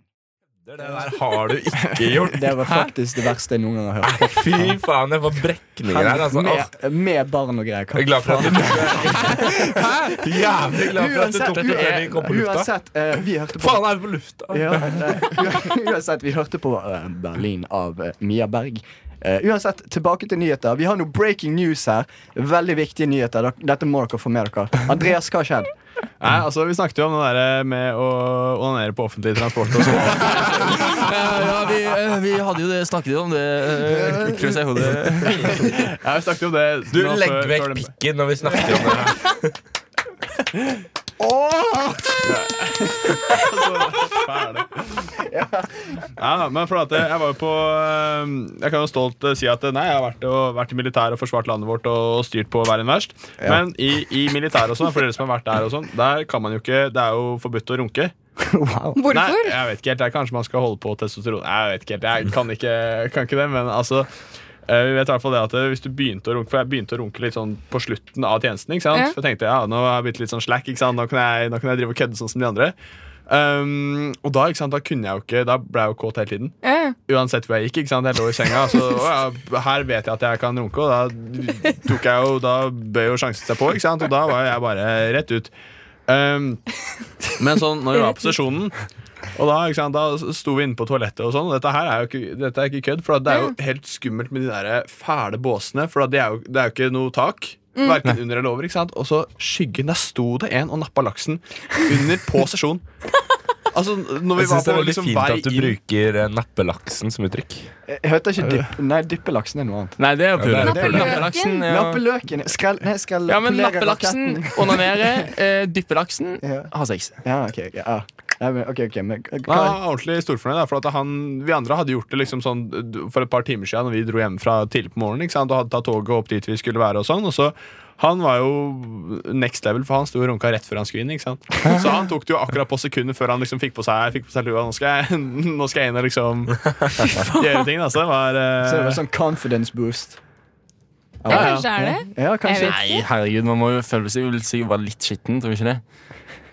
Speaker 1: Det der har du ikke gjort.
Speaker 5: Det var faktisk det verste jeg noen gang har hørt.
Speaker 1: Fy faen, jeg får brekninger her. Altså. Åh,
Speaker 5: med, med barn og greier.
Speaker 1: Jeg er glad for at du Jævlig glad for at du
Speaker 5: Uansett, eh,
Speaker 1: tok det før vi kom på lufta.
Speaker 5: uansett eh, vi hørte på
Speaker 1: Faen, er vi på lufta?
Speaker 5: ja, eh, Uansett, vi hørte på eh, Berlin av eh, Mia Berg. Eh, uansett, tilbake til nyheter. Vi har noe breaking news her. Veldig viktige nyheter. Dere- Dette må dere få med dere. Andreas, hva har skjedd?
Speaker 2: Nei, altså Vi snakket jo om det der med å onanere på offentlig transport. og sånn.
Speaker 7: Ja, ja, vi, eh, vi hadde jo det, snakket jo om det. eh, Kløs i hodet.
Speaker 2: Ja, vi snakket jo om det
Speaker 1: Du,
Speaker 2: nå
Speaker 1: legg
Speaker 2: før-
Speaker 1: vekk
Speaker 2: før det-
Speaker 1: pikken når vi snakker om det her.
Speaker 2: Hva er det? Ja, men for at jeg var jo på eh, Jeg kan jo stolt eh, si at eh, nei, jeg har vært, og, vært i militæret og forsvart landet vårt og styrt på hver en verst. Men i, i militæret og sånn, for dere som har vært der og sånn, der kan man jo ikke Det er jo forbudt å runke.
Speaker 5: Wow.
Speaker 6: Hvorfor?
Speaker 2: Nei, jeg vet ikke helt. Jeg, kanskje man skal holde på testosteron. Jeg vet ikke helt. Jeg kan ikke, kan ikke det, men altså Eh, Vi vet i hvert fall det at eh, hvis du begynte å runke For jeg begynte å runke litt sånn på slutten av tjenesten. ikke sant?
Speaker 6: Ja.
Speaker 2: For jeg tenkte ja, nå har jeg blitt litt sånn slack, ikke sant? Nå kan jeg, nå kan jeg drive og kødde sånn som de andre. Um, og da ikke sant, da kunne jeg jo ikke Da ble jeg jo kåt hele tiden.
Speaker 6: Ja, ja.
Speaker 2: Uansett hvor jeg gikk. ikke sant? Jeg lå i senga. Så å, ja, her vet jeg at jeg kan runke, og da tok jeg jo Da bød jo sjansen seg på, ikke sant? og da var jeg bare rett ut. Um, men sånn når vi var på sesjonen og da, ikke sant, da sto vi inne på toalettet, og sånn og dette her er jo ikke, dette er ikke kødd. For at det er jo helt skummelt med de der eh, fæle båsene, for at det, er jo, det er jo ikke noe tak. Hverken under eller over. ikke sant? Og så skyggen, der sto det en og nappa laksen under på sesjon. Altså, når vi
Speaker 1: Jeg syns det
Speaker 2: var på
Speaker 1: er veldig
Speaker 2: liksom,
Speaker 1: fint
Speaker 2: vei
Speaker 1: at du
Speaker 2: inn
Speaker 1: bruker eh, nappelaksen som uttrykk.
Speaker 5: Jeg Eh, hørte ikke dypp... Nei, dyppelaksen er noe annet.
Speaker 7: Nei, det er jo
Speaker 1: Ja, det er
Speaker 7: pull.
Speaker 1: pull.
Speaker 7: Nappelaksen. Ja.
Speaker 5: Nappeløken Skrell... Nei, skrell...
Speaker 7: ja, men
Speaker 5: polere
Speaker 7: nappelaksen,
Speaker 5: raketten.
Speaker 7: onanere, eh, dyppelaksen,
Speaker 5: Ja.
Speaker 7: har sex.
Speaker 5: Ja, ok, ok. Ja. Nei, men, ok, ok, men
Speaker 2: Nei,
Speaker 5: hva
Speaker 2: han var ordentlig storfornøyd. da, For at han, vi andre hadde gjort det liksom sånn d- for et par timer siden Når vi dro hjem fra tidlig på morgenen. Ikke sant? Og hadde tatt toget opp dit vi skulle være. Og sånn Og så han var jo next level, for han sto og runka rett før han skulle inn. Ikke sant? Så han tok det jo akkurat på sekundet før han liksom fikk på seg Fikk på seg lua. Nå skal jeg, nå skal jeg inn og liksom gjøre ting. Altså. Det var, eh,
Speaker 5: Så det var sånn confidence boost.
Speaker 6: ja,
Speaker 2: ja.
Speaker 6: kanskje det er det.
Speaker 5: Ja,
Speaker 6: Jeg
Speaker 5: kanskje.
Speaker 6: vet.
Speaker 7: Nei, herregud, man må jo føle seg vel sikkert bare litt skitten, tror du ikke det?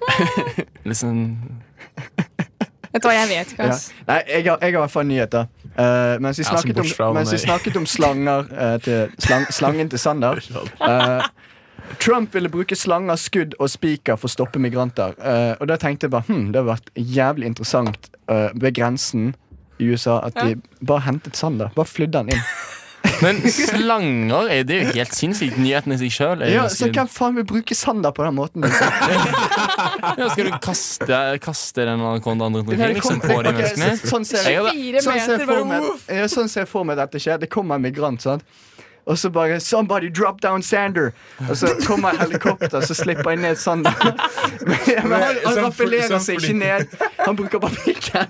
Speaker 7: Litt sånn
Speaker 6: Vet du hva, jeg vet ikke,
Speaker 5: Ja.
Speaker 6: ass.
Speaker 5: Nei, jeg har, jeg har i hvert fall nyheter. Eh, mens, vi
Speaker 2: som
Speaker 5: snakket
Speaker 2: bort fra
Speaker 5: om, mens vi
Speaker 2: meg.
Speaker 5: snakket om slanger eh, til slang, Slangen til Sander eh, Trump ville bruke slanger, skudd og spiker for å stoppe migranter. Eh, og da tenkte jeg bare hm, det har vært jævlig interessant eh, ved grensen i USA at de bare hentet Sander. Bare flydde han inn.
Speaker 7: Men slanger er det er jo helt sinnssykt. Nyheten i seg sjøl.
Speaker 5: Ja, så hvem faen vil bruke Sander på den måten? liksom?
Speaker 7: Skal du kaste, kaste den anakondaen rundt
Speaker 5: Nei,
Speaker 7: omkring
Speaker 5: det
Speaker 7: liksom,
Speaker 5: kom-
Speaker 7: på de
Speaker 5: ok, så-
Speaker 7: menneskene?
Speaker 5: Sånn ser
Speaker 7: Jeg
Speaker 5: jeg
Speaker 7: hadde
Speaker 6: Fire
Speaker 5: Sånn ser
Speaker 6: meter,
Speaker 5: jeg for
Speaker 6: bare
Speaker 5: meg,
Speaker 6: woof.
Speaker 5: ja, sånn ser jeg for meg at dette skjer. Det kommer en migrant. sant? Og så bare 'Somebody drop down Sander'. Og så kommer en helikopter, så slipper jeg ned Sander. Men, men han, han
Speaker 1: Sånn for-
Speaker 5: rappellerer
Speaker 1: sånn
Speaker 5: seg
Speaker 1: fordi-
Speaker 5: ikke ned. Han bruker bare pikken.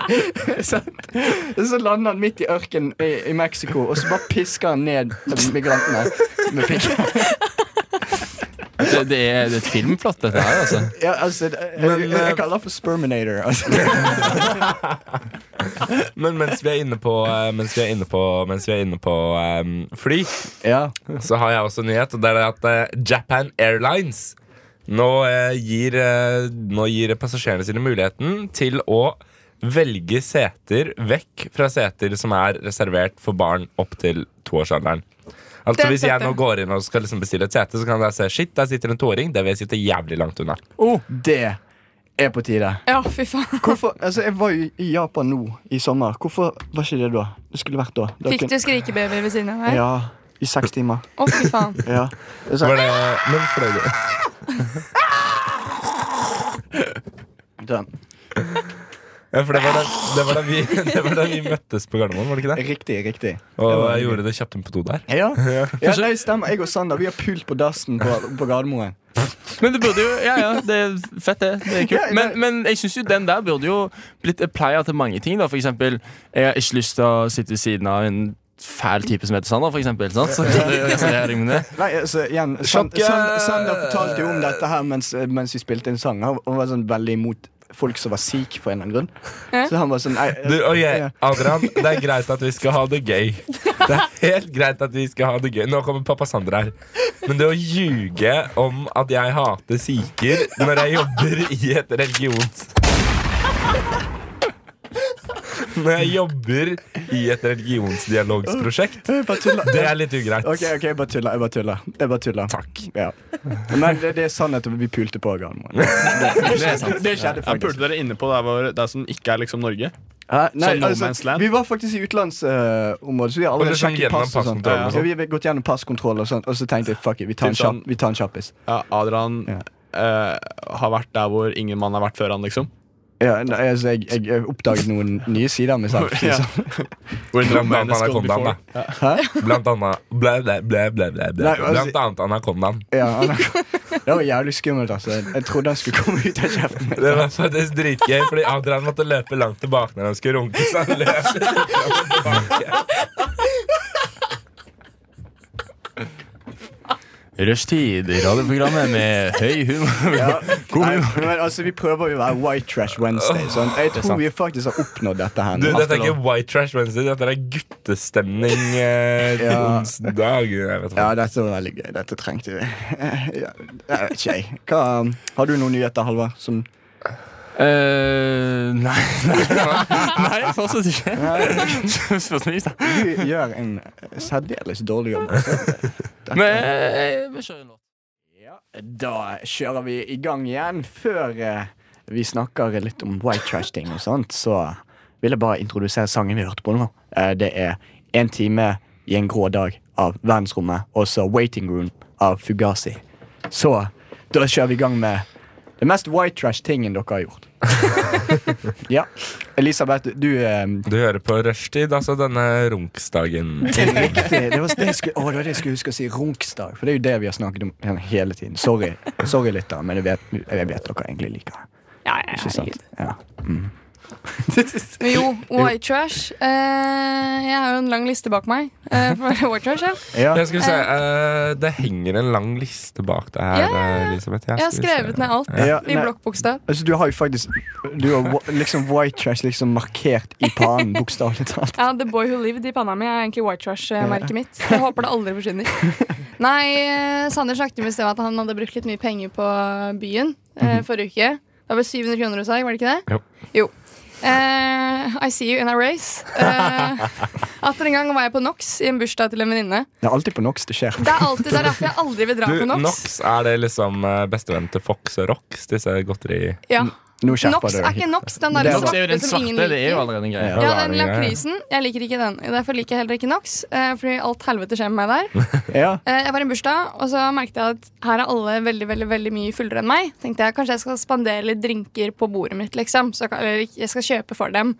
Speaker 5: Sant? Og så lander han midt i ørkenen i, i Mexico, og så bare pisker han ned migrantene med pikken.
Speaker 7: Det, det, er, det er et filmplott, dette her, altså.
Speaker 5: Ja, altså, det- jeg, jeg, jeg kaller det for sperminator. Altså.
Speaker 1: Men mens vi er inne på, eh, mens vi er inne på, mens vi er inne på eh, fly,
Speaker 5: Ja.
Speaker 1: så har jeg også en nyhet. Og det er det at eh, Japan Airlines nå, eh, gir, eh, nå gir passasjerene sine muligheten til å velge seter vekk fra seter som er reservert for barn opp til toårsalderen. Altså
Speaker 6: Det
Speaker 1: Hvis jeg
Speaker 6: setter.
Speaker 1: nå går inn og skal liksom bestille et sete, så kan jeg se shit, der sitter en toåring. Der vil jeg sitte jævlig langt unna.
Speaker 5: Oh, Det er på tide.
Speaker 6: Ja, fy faen.
Speaker 5: Hvorfor, altså Jeg var jo i Japan nå i sommer. Hvorfor var ikke det da? Det skulle vært da. da
Speaker 6: Fikk
Speaker 5: kunne-
Speaker 6: du skrikebaby ved siden av meg?
Speaker 5: Ja, I seks timer.
Speaker 6: Å, fy faen.
Speaker 5: Ja. Det er
Speaker 1: Var
Speaker 5: sånn,
Speaker 1: det, men fløy du?
Speaker 5: den.
Speaker 1: Ja, for det var, da, det, var da vi, det var da vi møttes på Gardermoen, var det ikke det?
Speaker 5: Riktig, riktig.
Speaker 1: Og jeg gjorde det kjapt inn på do der.
Speaker 5: Ja, ja nei, stemmer. Jeg og Sander vi har pult på dassen på, på Gardermoen.
Speaker 7: Men det burde jo Ja, ja, det er fett, det. det er kult. Men, men jeg syns jo den der burde jo blitt applier til mange ting. da For eksempel, jeg har ikke lyst til å sitte ved siden av en fæl type som heter Sander, for eksempel. Sant? Så kan du reservere deg med det.
Speaker 5: Nei, altså igjen San-
Speaker 1: Sjokke!
Speaker 5: San- Sander fortalte jo om dette her mens, mens vi spilte en sang. Han han var sånn veldig imot folk som var sikh, for en eller annen grunn. Så han var sånn nei,
Speaker 1: Du, og jeg,
Speaker 5: ja.
Speaker 1: Adrian, det er greit at vi skal ha det gøy. Det er helt greit at vi skal ha det gøy Nå kommer pappa Sander her. Men det å ljuge om at jeg hater sikher når jeg jobber i et religions... Når jeg jobber i et religionsdialogsprosjekt,
Speaker 5: Jeg bare tuller.
Speaker 1: det er litt ugreit.
Speaker 5: Ok, ok, jeg bare tuller. Jeg bare tuller. Jeg bare tuller.
Speaker 1: Takk.
Speaker 5: Ja. Men det, det er sannhet at vi pulte på Gardermoen. Det, det, det, det skjedde
Speaker 2: jeg
Speaker 5: faktisk.
Speaker 2: pulte dere inne på der, hvor, der som ikke er liksom Norge.
Speaker 5: Hæ?
Speaker 2: Sånn no man's land?
Speaker 5: altså, vi var faktisk i utenlandsområdet, så vi har
Speaker 1: Og
Speaker 5: allerede
Speaker 1: det skjønner
Speaker 5: sjekket
Speaker 1: gjennom
Speaker 5: pass. og sånt.
Speaker 1: passkontrollen
Speaker 2: og
Speaker 5: Ja, vi har gått gjennom passkontroll og sånt, og så tenkte jeg fuck it, vi tar en,
Speaker 2: Typ sånn-
Speaker 5: kjapp, vi tar en kjappis.
Speaker 2: Ja, Adrian
Speaker 5: Ja.
Speaker 2: eh, har vært der hvor ingen mann har vært før han, liksom.
Speaker 5: Ja, nei, altså, jeg, jeg, jeg oppdaget noen nye sider av meg selv.
Speaker 2: Ja.
Speaker 5: liksom.
Speaker 2: Where no
Speaker 1: Blant
Speaker 2: man
Speaker 1: annet
Speaker 2: has gone
Speaker 1: anakondaen,
Speaker 2: before.
Speaker 1: da. Blant annet ble, ble, ble, ble, ble, ble.
Speaker 5: Nei, altså-
Speaker 1: Blant annet anakondaen.
Speaker 5: Ja, han- det var jævlig skummelt, altså. Jeg, jeg trodde han skulle komme ut av kjeften min.
Speaker 1: Det var faktisk dritgøy, fordi Adrian måtte løpe langt tilbake når han skulle runke. Så han løp litt fram og tilbake.
Speaker 7: Rushtid, radioprogrammet med høy humor.
Speaker 5: Ja. Nei, men altså, vi prøver jo å være White Trash Wednesday. Sånn. Jeg tror vi faktisk har oppnådd dette her.
Speaker 1: Du,
Speaker 5: nå.
Speaker 1: dette er ikke White Trash Wednesday, dette er guttestemning eh,
Speaker 5: Ja.
Speaker 1: onsdag. Jeg vet
Speaker 5: Ja,
Speaker 1: ikke.
Speaker 5: dette var veldig gøy. Dette trengte vi. Ja, jeg vet ikke, jeg. Hva, har du noen nyheter, Halvard? Som
Speaker 7: Eh, nei, nei, nei, fortsatt ikke. Spørsmålsvis, da.
Speaker 5: du gjør en særdeles dårlig jobb.
Speaker 7: Men eh, vi kjører en låt.
Speaker 5: Ja, da kjører vi i gang igjen. Før eh, vi snakker litt om white trash-ting og sånt, så vil jeg bare introdusere sangen vi hørte på nå. Eh, det er En time i en grå dag av Verdensrommet, og så Waiting Room av Fugazi. Så da kjører vi i gang med det mest white trash-tingen dere har gjort. ja. Elisabeth, du eh,
Speaker 1: Du hører på rushtid, altså denne runksdagen.
Speaker 5: det, det, var det, jeg skulle, å, det var det jeg skulle huske å si. Runksdag. For det er jo det vi har snakket om hele tiden. Sorry, Sorry litt, da, men jeg vet, jeg vet dere egentlig liker det.
Speaker 6: Ja, ja,
Speaker 5: Ikke sant? Ja.
Speaker 6: Men jo, white trash. eh, jeg har jo en lang liste bak meg eh, for white trash. Ja.
Speaker 5: Ja.
Speaker 1: Jeg skal vi se, eh, Det henger en lang liste bak deg her, eh,
Speaker 6: Ja, ja, ja.
Speaker 1: Elisabeth.
Speaker 6: Jeg har
Speaker 1: skal vi se.
Speaker 6: skrevet ned alt
Speaker 5: Ja,
Speaker 6: i
Speaker 5: nei.
Speaker 6: blokkbokstav.
Speaker 5: Altså, du har jo faktisk Du har wa- liksom white trash liksom markert i panen, bokstavelig talt.
Speaker 6: Ja, The Boy Who Lived i panna mi er egentlig white trash-merket mitt. Jeg håper det aldri forsvinner. Nei, eh, Sander snakket med sted om at han hadde brukt litt mye penger på byen eh, forrige uke. Det var vel 700 kroner hos deg, var det ikke det? Jo. Eh, I see you in a race. Eh, atter en gang var jeg på NOx i en bursdag til en venninne.
Speaker 5: Det er alltid på NOx det skjer.
Speaker 6: Det er alltid det er derfor jeg aldri vil dra
Speaker 1: Du,
Speaker 6: på NOx.
Speaker 1: Nox, er det liksom eh, bestevennen til Fox og Rox, disse godteri...
Speaker 6: Ja.
Speaker 5: Nå skjerper
Speaker 6: Nox
Speaker 5: du
Speaker 6: er
Speaker 5: deg.
Speaker 6: ikke Nox, den der
Speaker 5: Det er
Speaker 7: Nox er jo
Speaker 6: svarte
Speaker 7: den
Speaker 6: som ingen
Speaker 7: svarte. Det er jo
Speaker 6: liker.
Speaker 7: allerede en greie.
Speaker 6: Ja,
Speaker 1: Hva er
Speaker 6: den
Speaker 1: det greia?
Speaker 6: lakrisen. Jeg liker ikke den. Derfor liker jeg heller ikke Nox. eh, Fordi alt helvete skjer med meg der.
Speaker 5: Ja.
Speaker 6: Eh, Jeg var i en bursdag, og så merket jeg at her er alle veldig veldig, veldig mye fullere enn meg. Tenkte jeg kanskje jeg skal spandere litt drinker på bordet mitt, liksom. Så jeg, kan- eller jeg skal kjøpe for dem.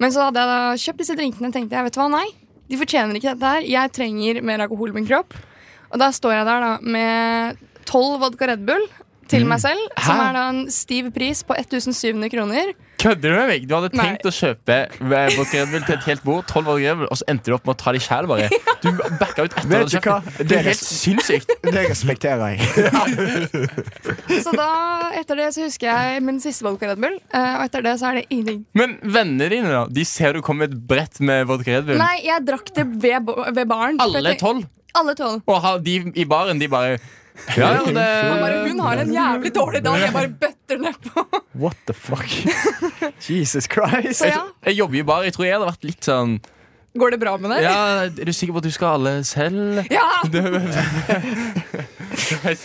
Speaker 6: Men så hadde jeg da kjøpt disse drinkene og tenkte jeg, vet du hva, nei. De fortjener ikke dette her. Jeg trenger mer alkohol i min kropp. Og da står jeg der da med tolv vodka Red Bull til meg selv, som er da en stiv pris på 1700 kroner.
Speaker 7: Kødder du med meg? Du hadde
Speaker 6: Nei.
Speaker 7: tenkt å kjøpe eh, vodka Red Bull til et helt bord, 12 vodka Red Bull, og så endte du opp med å ta de sjæl, bare. Du backa ut etter
Speaker 5: Vet
Speaker 7: at
Speaker 5: du
Speaker 7: du
Speaker 5: hva?
Speaker 7: hadde kjøpt dem. Det
Speaker 5: Det er
Speaker 7: er helt sinnssykt.
Speaker 5: Det respekterer jeg.
Speaker 6: Så da, etter det så husker jeg min siste vodka Red Bull, eh, og etter det så er det ingenting.
Speaker 7: Men vennene dine, da? De ser du kommer med et brett med vodka Red Bull.
Speaker 6: Nei, jeg drakk det ved, bo- ved baren. for
Speaker 7: Alle
Speaker 6: jeg tenk-
Speaker 7: tolv.
Speaker 6: Alle tolv.
Speaker 7: Og ha- de i baren, de bare Ja, ja, det
Speaker 6: Han bare, hun har en jævlig dårlig dag, jeg bare bøtter nedpå.
Speaker 5: What the fuck? Jesus Christ.
Speaker 6: Så ja,
Speaker 7: Jeg jobber jo i bar. Jeg tror jeg hadde vært litt sånn
Speaker 6: går det bra med deg?
Speaker 7: Ja, er du sikker på at du skal ha alle selv?
Speaker 6: Ja!
Speaker 7: Det-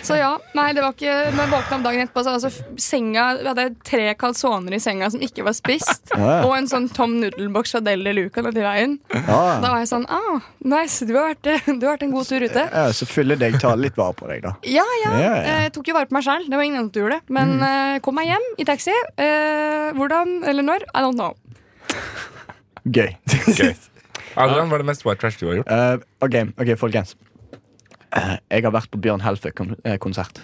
Speaker 6: Så ja, nei, det var ikke Når jeg våkna om dagen etterpå, så hadde altså f- senga Vi hadde tre calzoner i senga som ikke var spist,
Speaker 5: Ja.
Speaker 6: og en sånn tom nudelboks fra Deli Luca nedi veien. Da
Speaker 5: Ja.
Speaker 6: var jeg sånn ah, nice, du har vært, du har vært en god tur ute.
Speaker 5: Ja, så fyller deg ta litt vare på deg, da.
Speaker 6: Ja, ja.
Speaker 5: Ja, ja.
Speaker 6: Jeg tok jo vare på meg sjæl. Det var ingen andre som gjorde det. Men eh, kom meg hjem i taxi. Eh, hvordan eller når? I don't know.
Speaker 5: Gøy.
Speaker 1: Gøy. Adrian, hva er det mest white trash du har gjort?
Speaker 5: Eh, ok, ok, folkens. Eh, jeg har vært på Bjørn eh, Helføy-konsert.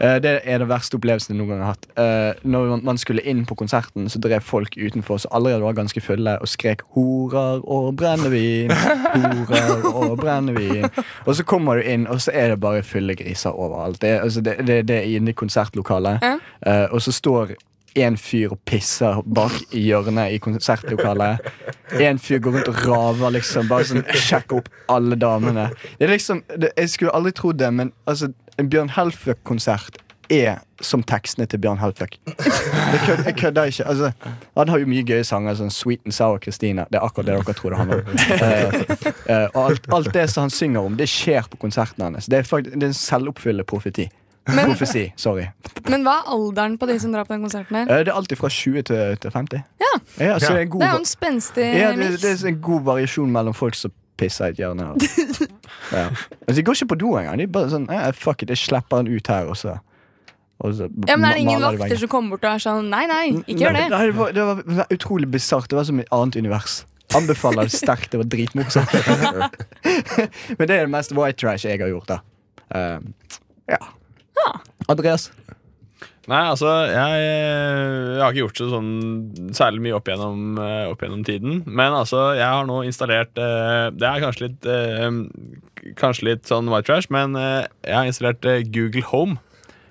Speaker 5: Eh, det er den verste opplevelsen jeg noen gang har hatt. Eh, når man- man skulle inn på konserten, så drev folk utenfor som allerede var ganske fulle, og skrek 'horer og brennevin'. Horer og brennevin. Og så kommer du inn, og så er det bare fulle griser overalt. Det, er- altså, det, det, det er inne i konsertlokalet,
Speaker 6: Ja.
Speaker 5: Eh, og så står en fyr og pisser bak i hjørnet i konsertlokalet. En fyr går rundt og raver, liksom. Bare sånn, sjekker opp alle damene. Det er liksom, det, Jeg skulle aldri trodd det, men altså, en Bjørn Helføk-konsert er som tekstene til Bjørn Helføk. Jeg kød- jeg kødder ikke. Altså, han har jo mye gøye sanger, sånn Sweet and Sour Christina. Det er akkurat det dere tror det handler om. Eh, eh, og alt, alt det som han synger om, det skjer på konserten hans. Det er, faktisk, det er en selvoppfyllende profeti. Profesi, sorry.
Speaker 6: Men hva er alderen på de som drar på den konserten her?
Speaker 5: Eh, Det er alltid fra 20 til, til 50.
Speaker 6: Ja.
Speaker 5: Ja, så det er en god,
Speaker 6: Det er jo
Speaker 5: va-
Speaker 6: en spenstig
Speaker 5: ja, det,
Speaker 6: miks.
Speaker 5: det er en god variasjon mellom folk som pisser i et hjørne. og- Ja. Altså, de går ikke på do engang. De er bare sånn eh, Fuck it, jeg slipper den ut her, og så, og så
Speaker 6: Ja, men er det ingen
Speaker 5: maler de
Speaker 6: vakter
Speaker 5: veggen.
Speaker 6: som kommer bort og er sånn Nei, nei, ikke gjør det.
Speaker 5: Nei, det, var, det var utrolig bisart. Det var som et annet univers. Anbefaler det sterkt. Det var dritmorsomt. men det
Speaker 6: Ah.
Speaker 5: er det mest white trash jeg har gjort, da. Eh, ja. Ehm, Andreas?
Speaker 2: Nei, altså, jeg, jeg har ikke gjort det sånn særlig mye opp gjennom, eh, opp gjennom tiden. Men altså, jeg har nå installert eh, Det er kanskje litt eh, Kanskje litt sånn white trash, men eh, jeg har installert eh, Google Home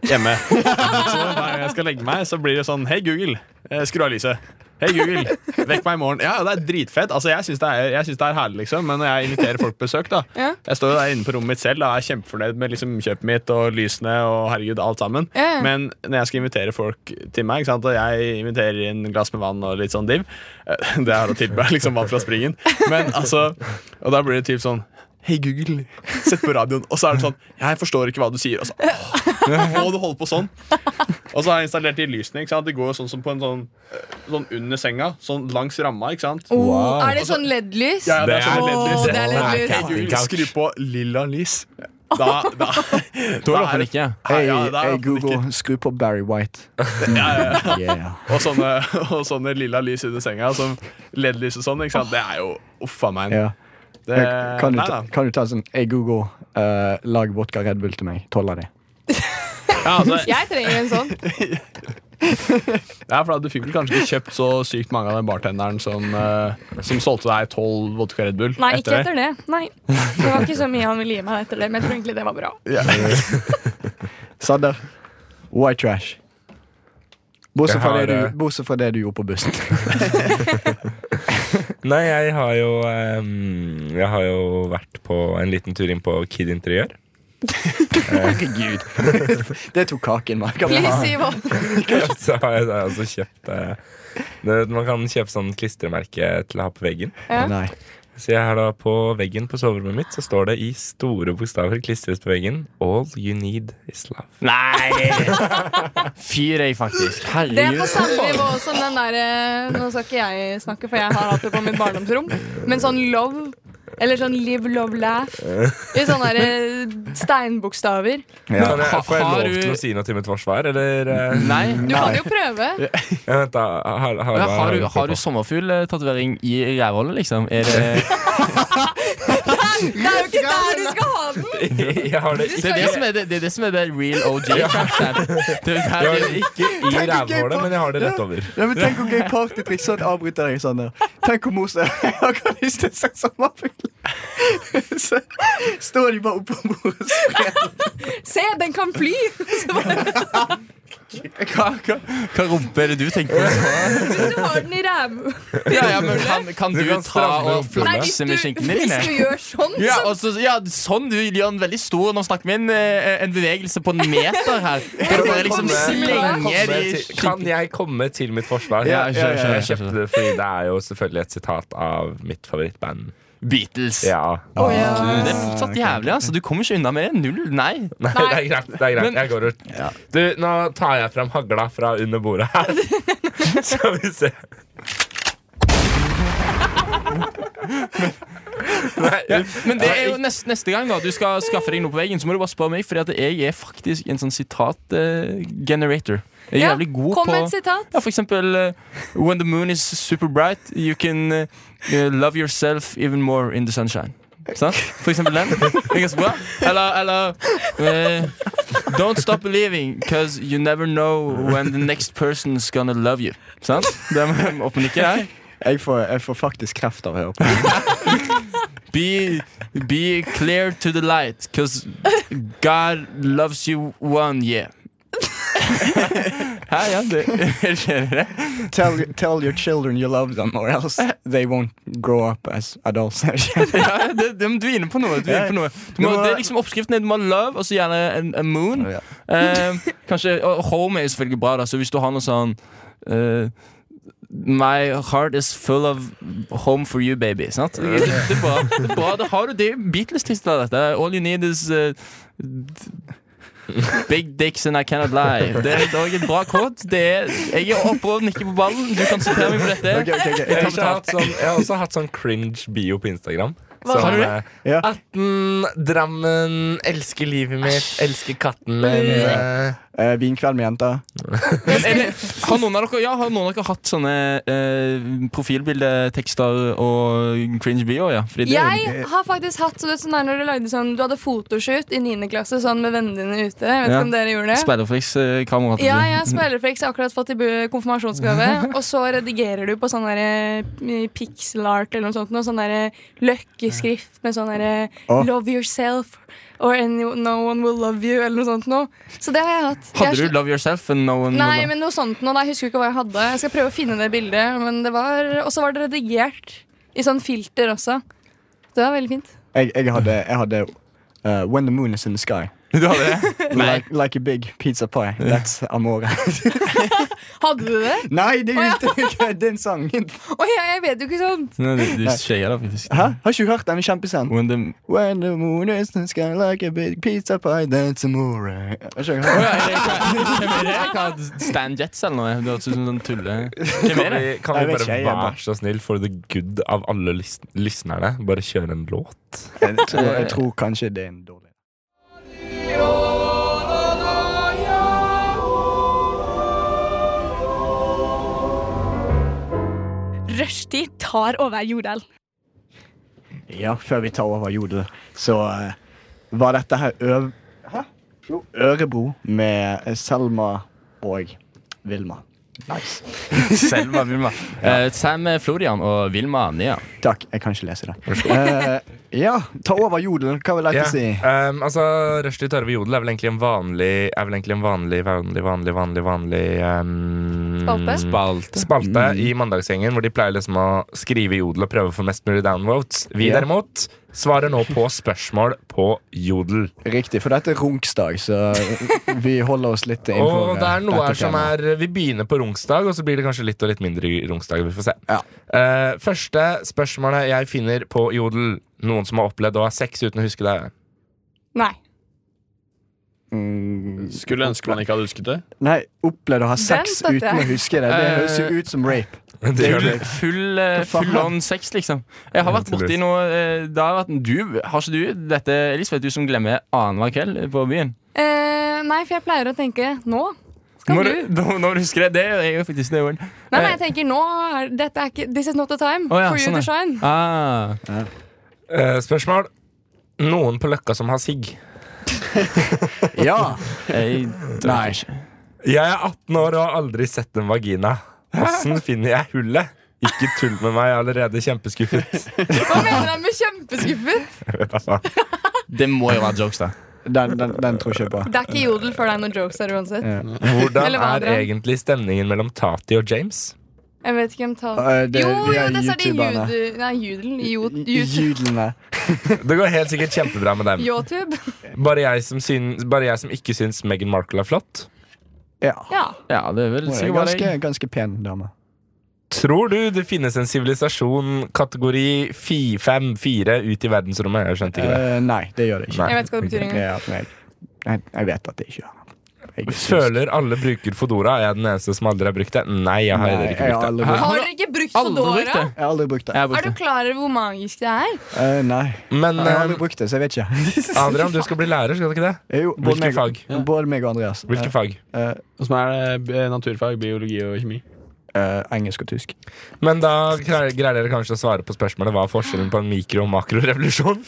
Speaker 2: hjemme. så hver gang jeg skal legge meg, så blir det sånn Hei, Google, eh, skru av lyset. Hei, Google, vekk meg i morgen. Ja, det er dritfett. Altså, jeg syns det, er- jeg synes det er herlig, liksom. Men når jeg inviterer folk på besøk, da
Speaker 6: Ja.
Speaker 2: Jeg står jo der inne på rommet mitt selv da, er kjempefornøyd med liksom, kjøpet mitt og lysene og herregud, alt sammen.
Speaker 6: Ja, ja.
Speaker 2: Men når jeg skal invitere folk til meg, ikke sant? og jeg inviterer inn glass med vann og litt sånn div eh, Det er å tilby meg liksom vann fra springen. Men altså Og da blir det typ sånn Hei, Google, sett på radioen. Og så er det sånn Jeg forstår ikke hva du sier. Og så åh, Må du holde på sånn? Og så har jeg installert de lysene. ikke sant? De går jo sånn som på en sånn, eh, sånn under senga. Sånn langs ramma, ikke sant?
Speaker 6: Oh, Er det sånn LED-lys?
Speaker 2: Ja, ja, det er sånn
Speaker 6: Åh,
Speaker 2: LED-lys.
Speaker 6: det er LED-lys.
Speaker 2: Hei, Google, skru på lilla lys. Da, da, da er det
Speaker 7: ikke.
Speaker 5: Hei,
Speaker 2: Ja, ja, det er
Speaker 5: hei,
Speaker 2: iallfall
Speaker 5: Google, skru på Barry White. Yeah.
Speaker 2: Og sånne, og sånne lilla lys under senga, som LED-lys og sånn. ikke sant? Det er jo uff a meg.
Speaker 5: Ja.
Speaker 2: Det,
Speaker 5: Kan, du
Speaker 2: Eh, nei,
Speaker 5: ta,
Speaker 2: da.
Speaker 5: kan du ta sånn Hei, Google, eh, lag vodka Red Bull til meg. Tolv av de.
Speaker 2: Ja, altså, ja,
Speaker 6: Jeg trenger en sånn.
Speaker 2: for da, Du fikk vel kanskje ikke kjøpt så sykt mange av den bartenderen som, eh, som solgte deg tolv vodka Red Bull?
Speaker 6: Nei, ikke etter det. Nei. Det var ikke så mye han ville gi meg etter det, men jeg tror egentlig det var bra.
Speaker 5: Sadder. White trash. Bortsett
Speaker 1: Jeg
Speaker 5: fra,
Speaker 1: har,
Speaker 5: det
Speaker 1: eh,
Speaker 5: du, bortsett fra det du gjorde på bussen.
Speaker 1: Nei, jeg har jo ehm, Jeg har jo vært på en liten tur inn på Kid Interiør.
Speaker 5: Herregud. Det tok kaken, man. Kan
Speaker 6: Please,
Speaker 5: man-
Speaker 6: si hva.
Speaker 1: Så har jeg da altså kjøpt eh, det- Man kan kjøpe sånn klistremerke til å ha på veggen.
Speaker 6: Ja.
Speaker 5: Nei.
Speaker 1: Så jeg har da på veggen på soverommet mitt Så står det i store bokstaver klistret på veggen All you need is love.
Speaker 7: Nei! Fyr deg, faktisk.
Speaker 6: Det er på
Speaker 7: Herregud.
Speaker 6: samme nivå som den derre Nå skal ikke jeg snakke, for jeg har hatt det på mitt barndomsrom. Men sånn love, eller sånn live, love, laugh, i sånne derre steinbokstaver.
Speaker 1: Kan jeg, får jeg
Speaker 7: Har
Speaker 1: lov
Speaker 7: du-
Speaker 1: til å si noe til mitt forsvar, eller? eh,
Speaker 7: Nei.
Speaker 6: Du kan jo prøve.
Speaker 1: Ja, vent, da. Har, har,
Speaker 7: Ja,
Speaker 1: hva
Speaker 7: har, du,
Speaker 1: på
Speaker 7: har du
Speaker 1: på?
Speaker 7: sommerfugltatovering i rævhullet, liksom? Er det
Speaker 6: Det er jo ikke der du skal ha den!
Speaker 1: Jeg har det
Speaker 7: Det
Speaker 1: ikke,
Speaker 7: er det som er det, det, er det, som er det real OG. Trap-Trap. Det er
Speaker 1: jeg har
Speaker 7: der,
Speaker 1: det ikke i
Speaker 5: Tenk ikke på-
Speaker 1: rævhålet, men jeg har det rett over.
Speaker 5: Ja, men tenk hvor gøy partytriks sånn avbryter deg sånn der. Tenk hvor mos Jeg har ikke lyst til å se sommerfugler. Så står de bare oppå bordet og sprer
Speaker 6: Se, den kan fly! Så bare,
Speaker 7: hva, hva, hva rumpe er det du tenker på?
Speaker 6: hvis du har den i ræv...
Speaker 7: Ja, ja, men kan, kan du,
Speaker 1: kan
Speaker 7: ta
Speaker 1: stramme
Speaker 7: og
Speaker 1: rumpene.
Speaker 6: Nei, hvis
Speaker 7: flakse
Speaker 6: du,
Speaker 7: med skinkene
Speaker 6: hvis
Speaker 7: dine?
Speaker 6: du gjør sånn,
Speaker 7: Ja,
Speaker 6: så
Speaker 7: og så, ja, sånn du gjør en veldig stor Nå snakker vi en, eh, en bevegelse på en meter her. Kan du bare liksom
Speaker 1: Komme
Speaker 7: slenge de
Speaker 1: til- Kan
Speaker 7: skinkene
Speaker 1: jeg komme til mitt forsvar?
Speaker 7: Ja, jeg skjønner, skjønner,
Speaker 1: Jeg kjøpte det fordi det er jo selvfølgelig et sitat av mitt favorittband.
Speaker 7: Beatles.
Speaker 1: Ja.
Speaker 6: Å, ja.
Speaker 7: Det er fortsatt jævlig. altså Du kommer ikke unna med det. Null. Nei.
Speaker 1: Nei, det er greit. det er greit
Speaker 7: Men-
Speaker 1: Jeg går ut. Du, nå tar jeg fram hagla fra under bordet her. Skal vi se. Nei,
Speaker 7: Men det er jo neste, neste gang da du skal skaffe deg noe på veggen, så må du bare spørre meg, Fordi at jeg er faktisk en sånn sitat-generator. Jeg er
Speaker 6: Ja,
Speaker 7: jævlig god
Speaker 6: kom
Speaker 7: på
Speaker 6: med et sitat.
Speaker 7: Ja, for eksempel eh, When the moon is super bright, you can eh, eh, love yourself even more in the sunshine. Sant? For eksempel den. Det er ganske bra. Eller, eller eh, Don't stop believing, cause you never know when the next person's gonna love you. Sant? Det er vi oppe og nikker her.
Speaker 5: Jeg får, jeg får faktisk kreft av å høre på.
Speaker 7: Be, be clear to the light, cause God loves you one year. Hæ, ja, det, skjer det?
Speaker 5: Tell, tell your children you love them, or else they won't grow up as adults.
Speaker 7: ja, det, det, men du er inne på noe. Du er inne på noe. Du må,
Speaker 5: Du må-
Speaker 7: det er liksom Oppskriften er du må ha love og så gjerne en, en moon.
Speaker 5: Ja.
Speaker 7: Eh, kanskje, og Home er jo selvfølgelig bra, da, så hvis du har noe sånn eh, My heart is full of home for you, baby. Sant? Det, det, det er bra. Det er bra. Det har du. Det er jo Beatles-titler, dette. All you need is eh, Big dicks and I cannot lie. Det er dog et bra kod. Det er, jeg er oppe og nikker på ballen. Du kan sitere meg på dette.
Speaker 5: Ok, ok, ok.
Speaker 1: Jeg har, også hatt sånn, jeg har også hatt sånn cringe bio på Instagram.
Speaker 6: Hva
Speaker 1: Som,
Speaker 6: var det?
Speaker 1: eh,
Speaker 5: Ja.
Speaker 1: 18, Drammen, elsker livet mitt, elsker katten min. eh,
Speaker 5: Eh, vinkveld med jenter.
Speaker 7: Men er det, har, noen av dere, ja, har noen av dere hatt sånne eh, profilbildetekster og cringe bio? Ja? Fordi det er jo-
Speaker 6: Jeg har faktisk hatt så det, sånn der når du lagde sånn Du hadde fotoshoot i 9. klasse sånn med vennene dine ute. Jeg vet ikke
Speaker 7: Ja.
Speaker 6: om dere gjorde det.
Speaker 7: Speiderflix-kamera.
Speaker 6: Ja, jeg speiler for ikke så akkurat fått i bu- konfirmasjonsgave. Og så redigerer du på sånn der eh, pixel art eller noe sånt. Noe sånn der løkkeskrift med sånn der
Speaker 5: Å.
Speaker 6: Love yourself or any, no one will love you eller noe sånt noe. Så det har jeg hatt. Jeg
Speaker 7: Hadde
Speaker 6: har-
Speaker 7: du Love Yourself? and No one
Speaker 6: Nei,
Speaker 7: Would-
Speaker 6: men noe sånt noe. da. Jeg husker ikke hva jeg hadde. Jeg skal prøve å finne det bildet. Men det var Og så var det redigert i sånn filter også. Det var veldig fint.
Speaker 5: Jeg, jeg hadde, jeg hadde eh, When the moon is in the sky.
Speaker 7: Du hadde det?
Speaker 5: Like, like a big pizza pie. That's amore.
Speaker 6: Hadde du det?
Speaker 5: Nei, det er jo ikke din sang!
Speaker 6: Å ja, jeg vet jo ikke sånt.
Speaker 7: Nei, du du skeier da, faktisk.
Speaker 5: Hæ? Har ikke du hørt den? Kjempesent.
Speaker 7: When the...
Speaker 5: When the moon is in the sky like a big pizza pie, that's amore. Har ikke du hørt
Speaker 7: Å
Speaker 5: den?
Speaker 7: ja, jeg- jeg- Hvem er det? Jeg kan ha Stan Jets eller noe? Du hørtes ut som en sånn tulle... Hvem er
Speaker 1: Kan
Speaker 7: det?
Speaker 1: vi, kan
Speaker 5: Jeg
Speaker 1: vi
Speaker 5: vet
Speaker 1: bare
Speaker 5: ikke, jeg bare-
Speaker 1: være så snill, for the good av alle lys lysnerne, bare kjøre en låt?
Speaker 5: Jeg tror, jeg tror kanskje det er en dårlig
Speaker 4: Rushtid tar over Jordal.
Speaker 5: Ja, før vi tar over Jodel, så eh, var dette her øv... Hæ? Jo, Ørebro med eh, Selma og Vilma. Nice.
Speaker 7: Selma Vilma. Eh, Sam Florian og Vilma Nia.
Speaker 5: Takk. Jeg kan ikke lese det. Eh, ja, ta over Jodel. Hva vil dette
Speaker 1: Ja,
Speaker 5: si?
Speaker 1: ehm, altså, Rushdie Tarve Jodel er vel egentlig en vanlig Er vel egentlig en vanlig, vanlig, vanlig, vanlig, vanlig ehm,
Speaker 6: Spalte?
Speaker 1: spalte.
Speaker 5: Mm.
Speaker 1: i Mandagsgjengen, hvor de pleier liksom å skrive Jodel og prøve å få mest mulig downvotes. Vi
Speaker 5: Ja.
Speaker 1: derimot svarer nå på spørsmål på Jodel.
Speaker 5: Riktig, for dette er runksdag, så vi holder oss litt
Speaker 1: Og
Speaker 5: innenfor
Speaker 1: det er
Speaker 5: eh,
Speaker 1: noe
Speaker 5: dette
Speaker 1: her som
Speaker 5: temaet.
Speaker 1: er Vi begynner på Rungsdag, og så blir det kanskje litt og litt mindre i Rungsdag. Vi får se.
Speaker 5: Ja.
Speaker 1: Eh, første spørsmålet jeg finner på Jodel. Noen som har opplevd å ha sex uten å huske det?
Speaker 6: Nei.
Speaker 5: Mm,
Speaker 2: Skulle ønske man ikke hadde husket det.
Speaker 5: Nei, opplevd å ha sex
Speaker 6: støtter jeg.
Speaker 5: uten å huske det. Det høres jo ut som rape.
Speaker 1: Det gjør det.
Speaker 7: Full, eh, full on sex, liksom. Jeg har vært borti noe eh, det har vært, Du, har ikke du dette, Elisabeth, du som glemmer annenhver kveld på byen?
Speaker 6: Eh, nei, for jeg pleier å tenke nå. Skal
Speaker 7: Når,
Speaker 6: du?
Speaker 7: når, når du husker det, det gjør jeg jo faktisk. Det, gjør jeg.
Speaker 6: Nei, nei, jeg tenker nå er, dette er ikke, This is not the time
Speaker 7: Å ja,
Speaker 6: for you
Speaker 7: sånn
Speaker 6: to
Speaker 7: er.
Speaker 6: shine.
Speaker 7: ah.
Speaker 1: Eh, spørsmål. Noen på Løkka som har sigg?
Speaker 5: Ja!
Speaker 7: Jeg,
Speaker 5: Nei.
Speaker 1: Jeg er 18 år og har aldri sett en vagina. Åssen finner jeg hullet? Ikke tull med meg, jeg er allerede kjempeskuffet.
Speaker 6: Hva mener han med kjempeskuffet?
Speaker 1: Jeg vet da faen.
Speaker 7: det må jo være jokes, da.
Speaker 5: Den, den, den tror ikke jeg på.
Speaker 6: Det er ikke jodel for deg noen jokes der uansett.
Speaker 1: Hvordan
Speaker 6: Eller hva,
Speaker 1: er
Speaker 6: Adrian?
Speaker 1: egentlig stemningen mellom Tati og James?
Speaker 6: Jeg vet ikke hvem tar
Speaker 5: Eh, det-
Speaker 6: Jo,
Speaker 5: de
Speaker 6: jo,
Speaker 5: er
Speaker 6: det er de
Speaker 5: youtuberne.
Speaker 6: jude- Nei, judelen. Jod, jud,
Speaker 5: Judlene.
Speaker 1: Det går helt sikkert kjempebra med dem.
Speaker 6: YouTube.
Speaker 1: Bare jeg som, syns, bare jeg som ikke syns Meghan Markle er flott.
Speaker 5: Ja.
Speaker 6: Ja.
Speaker 7: Ja, det er vel
Speaker 5: Hun er en
Speaker 7: sikkert bare
Speaker 5: ganske,
Speaker 7: deg.
Speaker 5: ganske pen dame.
Speaker 1: Tror du det finnes en sivilisasjon kategori 5-4 ut i verdensrommet? Jeg skjønte ikke det.
Speaker 5: Eh, nei, det gjør det ikke.
Speaker 1: Nei.
Speaker 6: Jeg vet ikke hva det betyr
Speaker 5: Det
Speaker 6: engang.
Speaker 5: er at jeg, jeg, jeg vet at det ikke gjør det. Jeg syns-
Speaker 1: Føler alle bruker Fodora. Er jeg den eneste som aldri har brukt det? Nei, jeg har
Speaker 5: Nei,
Speaker 1: heller
Speaker 5: jeg
Speaker 1: ikke
Speaker 5: har
Speaker 1: brukt det.
Speaker 5: aldri brukt det.
Speaker 6: Har dere ikke brukt
Speaker 7: Aldri brukt
Speaker 6: Fodora?
Speaker 7: det.
Speaker 5: Jeg har aldri brukt det.
Speaker 7: Jeg har brukt
Speaker 6: Er du
Speaker 7: det.
Speaker 6: klar over hvor magisk det er?
Speaker 5: Eh, nei,
Speaker 1: Men
Speaker 5: jeg har aldri
Speaker 1: eh,
Speaker 5: brukt det, så jeg vet ikke.
Speaker 1: Adrian, du skal bli lærer, skal du ikke det?
Speaker 5: Jo, både
Speaker 1: Hvilke
Speaker 5: meg-
Speaker 1: fag?
Speaker 5: Både meg og Andreas.
Speaker 1: Hvilke fag?
Speaker 5: Eh,
Speaker 2: Og som er det eh, naturfag, biologi og kjemi.
Speaker 5: eh, engelsk og tysk.
Speaker 1: Men da greier greier dere kanskje å svare på spørsmålet hva er forskjellen på en mikro- og makrorevolusjon?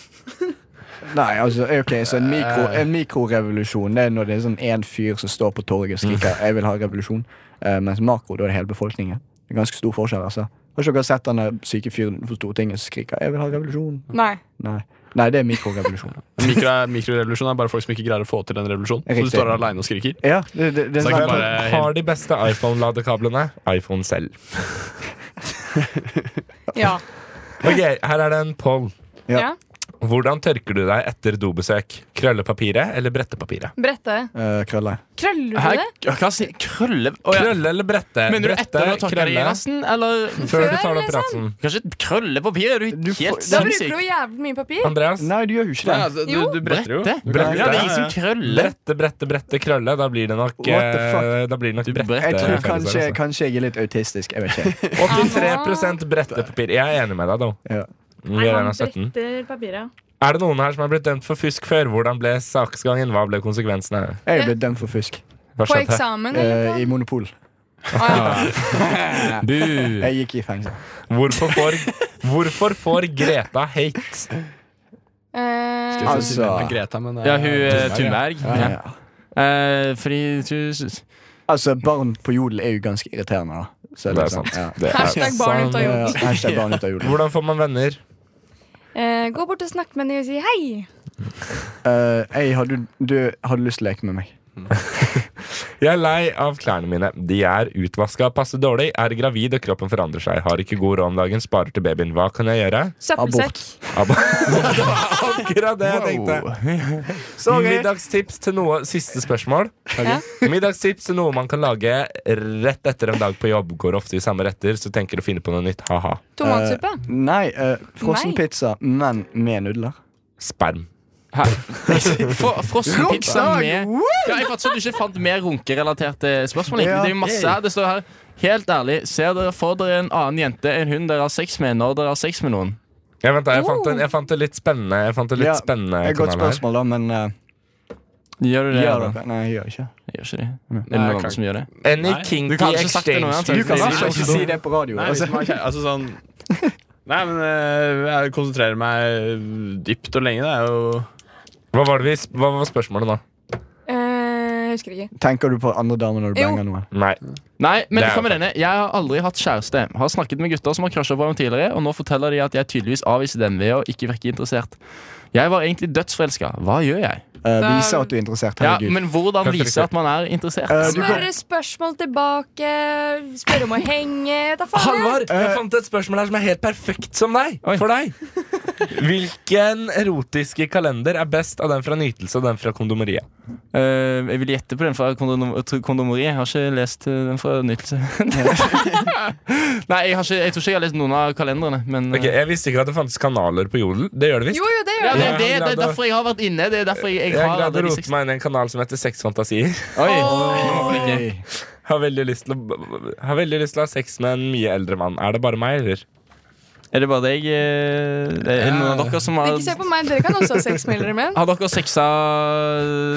Speaker 5: Nei, altså, ok, så en, mikro, en mikrorevolusjon Det er når det er sånn en fyr som står på torget og skriker 'jeg vil ha revolusjon', Eh, mens makro, da er det hele befolkningen. Det er ganske stor forskjell, altså. Har ikke dere sett den der syke fyren på Stortinget som skriker 'jeg vil ha revolusjon'?
Speaker 6: Nei.
Speaker 5: Nei, nei det er mikrorevolusjon.
Speaker 2: Mikro, mikrorevolusjon er bare folk som ikke greier å få til den revolusjonen. Så
Speaker 5: Riktig.
Speaker 2: du står der aleine og skriker.
Speaker 5: Ja, det, det, det er
Speaker 2: Så
Speaker 5: sånn
Speaker 2: det er
Speaker 5: at-
Speaker 2: bare-
Speaker 7: Eh,
Speaker 1: Hvem har de beste iPhone-ladekablene? iPhone selv.
Speaker 6: Ja.
Speaker 1: Ok, Her er det en poll.
Speaker 5: Ja.
Speaker 6: ja.
Speaker 1: Hvordan tørker du deg etter dobesøk? Krøllepapiret eller brettepapiret?
Speaker 6: Brette.
Speaker 5: eh, krøller.
Speaker 6: Krøller
Speaker 7: Hæ?
Speaker 6: du det?
Speaker 7: Hva sier Krølle... Å, ja.
Speaker 1: Krølle eller brette?
Speaker 7: Mener du
Speaker 1: brette,
Speaker 7: etter å ha tørka deg i
Speaker 1: krølle,
Speaker 7: rassen, eller
Speaker 1: Før du tar
Speaker 6: Før,
Speaker 1: det opp i rassen.
Speaker 7: Kanskje krøllepapir? Er du
Speaker 5: Du får-
Speaker 7: helt
Speaker 6: Da bruker du
Speaker 7: sinnssyk?
Speaker 6: jo jævlig mye papir.
Speaker 1: Andreas?
Speaker 5: Nei, du gjør jo ikke det.
Speaker 2: Altså, du,
Speaker 6: Jo.
Speaker 2: bretter jo.
Speaker 7: Brette?
Speaker 1: Brette.
Speaker 7: Ja, det er ingen som krøller.
Speaker 1: Brette, brette, brette, krølle. Da blir det nok,
Speaker 5: What the fuck?
Speaker 1: eh, da blir det nok
Speaker 7: Du
Speaker 1: brette.
Speaker 5: Jeg tror
Speaker 1: følelser,
Speaker 5: kanskje,
Speaker 1: altså.
Speaker 5: kanskje jeg er litt autistisk. Jeg vet ikke.
Speaker 1: 83 brettepapir. Jeg er enig med deg, da.
Speaker 5: Ja.
Speaker 1: Vi er en av 17.
Speaker 9: bretter papiret.
Speaker 1: Er det noen her som er blitt dømt for fusk før? Hvordan ble saksgangen? Hva ble konsekvensene?
Speaker 5: Jeg ble dømt for fusk
Speaker 1: Hva
Speaker 6: På
Speaker 1: skjedde?
Speaker 6: eksamen? eller
Speaker 5: eh, i Monopol.
Speaker 1: Bu.
Speaker 5: Jeg gikk i fengsel.
Speaker 1: Hvorfor får, hvorfor får Greta hate?
Speaker 6: noe? Eh,
Speaker 5: Altså
Speaker 2: Greta, men det er-
Speaker 7: Ja, hun eh, Thunberg.
Speaker 5: ja,
Speaker 7: Ja.
Speaker 5: ja.
Speaker 7: Eh, fordi hun
Speaker 5: Altså, barn på jodel er jo ganske irriterende, da. Så
Speaker 1: Det er
Speaker 5: liksom,
Speaker 1: sant.
Speaker 5: Ja.
Speaker 1: Det er
Speaker 6: Hashtag barn ut av
Speaker 5: Ja,
Speaker 6: jorden.
Speaker 5: ja. Hashtag barn ut av jodel.
Speaker 1: Hvordan får man venner?
Speaker 6: Eh, gå bort og snakk med henne og si hei.
Speaker 5: Eh, jeg hadde, du hadde lyst til å leke med meg.
Speaker 1: Jeg er lei av klærne mine. De er utvaska, passer dårlig, er gravid og kroppen forandrer seg. Har ikke god råd om dagen, sparer til babyen. Hva kan jeg gjøre?
Speaker 6: Søppelsekk.
Speaker 1: Abba. Det var Akkurat det jeg tenkte. Middagstips til noe Siste spørsmål.
Speaker 6: Ja.
Speaker 1: Middagstips til noe man kan lage rett etter en dag på jobb. Går ofte i samme retter, så tenker å finne på noe nytt. Ha-ha.
Speaker 5: eh.
Speaker 6: Tomatsuppe.
Speaker 5: Nei, eh,
Speaker 6: Nei.
Speaker 5: frossen pizza, men med nudler.
Speaker 1: Sperm.
Speaker 7: Fro- Frossen pizza
Speaker 5: Runkestag!
Speaker 7: med ja, Jeg fatter at du ikke fant mer runkerelaterte spørsmål. egentlig.
Speaker 5: Ja.
Speaker 7: Det er jo masse her. Det står her Helt ærlig, ser dere for dere en annen jente enn hun dere har sex med, når dere har sex med noen?
Speaker 1: Jeg, vent, da, jeg, fant en, jeg fant det litt spennende. Jeg fant det litt
Speaker 5: Ja,
Speaker 1: spennende
Speaker 5: Et Eh, godt
Speaker 1: kanal her.
Speaker 5: spørsmål, da, men eh,
Speaker 7: Gjør du det?
Speaker 5: gjør
Speaker 7: Adam?
Speaker 5: dere Nei, jeg gjør ikke.
Speaker 7: Jeg gjør ikke det. Er det
Speaker 2: Nei,
Speaker 7: noen
Speaker 2: jeg kan-
Speaker 7: andre som gjør det?
Speaker 1: Any
Speaker 2: Nei,
Speaker 7: Du
Speaker 1: kinky
Speaker 7: kan ikke sagt det nå,
Speaker 1: exchange.
Speaker 5: Du kan
Speaker 2: Nei,
Speaker 5: altså
Speaker 2: nei,
Speaker 5: ikke
Speaker 2: nei.
Speaker 5: si det på radio.
Speaker 2: Nei,
Speaker 5: altså.
Speaker 2: hvis man er kjære- altså sånn Nei, men eh, jeg konsentrerer meg eh, dypt og lenge. Det er jo
Speaker 1: Hva var, det vi, sp- hva var spørsmålet nå?
Speaker 6: Eh, husker ikke.
Speaker 5: Tenker du på andre damer når du
Speaker 6: Jo.
Speaker 5: banger noen?
Speaker 1: Nei.
Speaker 7: Nei, men
Speaker 1: Det er
Speaker 7: hva med
Speaker 1: jo
Speaker 7: denne? Jeg har aldri hatt kjæreste. Har snakket med gutter som har crusha på ham tidligere, og nå forteller de at jeg tydeligvis avviser dem ved å ikke virke interessert. Jeg var egentlig dødsforelska. Hva gjør jeg?
Speaker 5: Eh,
Speaker 6: Da-
Speaker 5: vise at du er interessert.
Speaker 7: Ja,
Speaker 5: Herregud.
Speaker 7: men hvordan
Speaker 1: Kan ikke
Speaker 7: vise at
Speaker 1: riktig.
Speaker 7: man er interessert?
Speaker 5: Eh, du kan,
Speaker 6: Smøre spørsmål tilbake, spørre om å henge vet da faen jeg.
Speaker 1: Halvard, jeg fant et spørsmål her som er helt perfekt som deg,
Speaker 7: Eh, Oi.
Speaker 1: for deg. Hvilken erotiske kalender er best av den fra Nytelse og den fra Kondomeriet?
Speaker 7: Eh, jeg vil gjette på den fra kondom kondomeriet. Jeg har ikke lest eh, den fra nytelse. Nei, jeg, har ikke, jeg tror ikke jeg har lest noen av kalenderne. Men, eh,
Speaker 1: Ok, Jeg visste ikke at det fantes kanaler på Jodel. Det gjør det visst.
Speaker 6: Jo, jo, det
Speaker 7: ja,
Speaker 6: gjør
Speaker 7: det,
Speaker 6: det.
Speaker 7: er det, det er derfor jeg har vært inne. Det er derfor jeg,
Speaker 1: Jeg
Speaker 7: jeg
Speaker 1: er
Speaker 7: har
Speaker 1: glad du
Speaker 7: alle de
Speaker 1: rotet
Speaker 7: seks-
Speaker 1: meg inn i en kanal som heter Sex Fantasier.
Speaker 7: Oi, nå må vi ikke.
Speaker 1: Har veldig lyst til å, har veldig lyst til å ha sex med en mye eldre mann. Er det bare meg, eller?
Speaker 7: Er det bare deg? eh, Er det noen av dere som har
Speaker 6: Ikke se på meg, dere kan også ha sex med eldre menn.
Speaker 7: Har dere sexa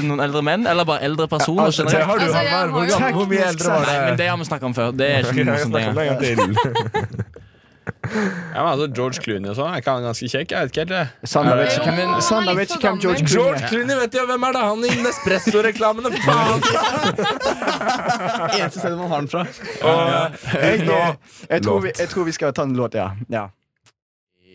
Speaker 7: noen eldre menn, eller bare eldre personer?
Speaker 5: altså,
Speaker 7: generelt?
Speaker 5: det har
Speaker 6: du, Altså, jeg Halvard. Hvor har jo- gammel-
Speaker 1: Hvor mye eldre var
Speaker 7: Nei, men
Speaker 1: det?
Speaker 7: Det har vi snakka om før. Det
Speaker 1: Sånn,
Speaker 7: er ikke noe som det er.
Speaker 2: Ja, men altså George Clooney og sånn, er ikke han ganske kjekk? Jeg vet ikke helt det.
Speaker 5: Sander vet ikke
Speaker 6: Jo, han er
Speaker 5: hvem, Sander
Speaker 6: litt
Speaker 5: vet ikke
Speaker 6: for
Speaker 5: hvem George
Speaker 6: gammel.
Speaker 5: Clooney
Speaker 1: George
Speaker 5: er.
Speaker 1: Clooney, vet du hvem er det? Han i Nespresso-reklamene, faen!
Speaker 2: Eneste stedet man har den fra.
Speaker 5: Jeg, jeg, jeg, tror
Speaker 1: Låt.
Speaker 5: vi, jeg tror vi skal ta en låt, ja. ja.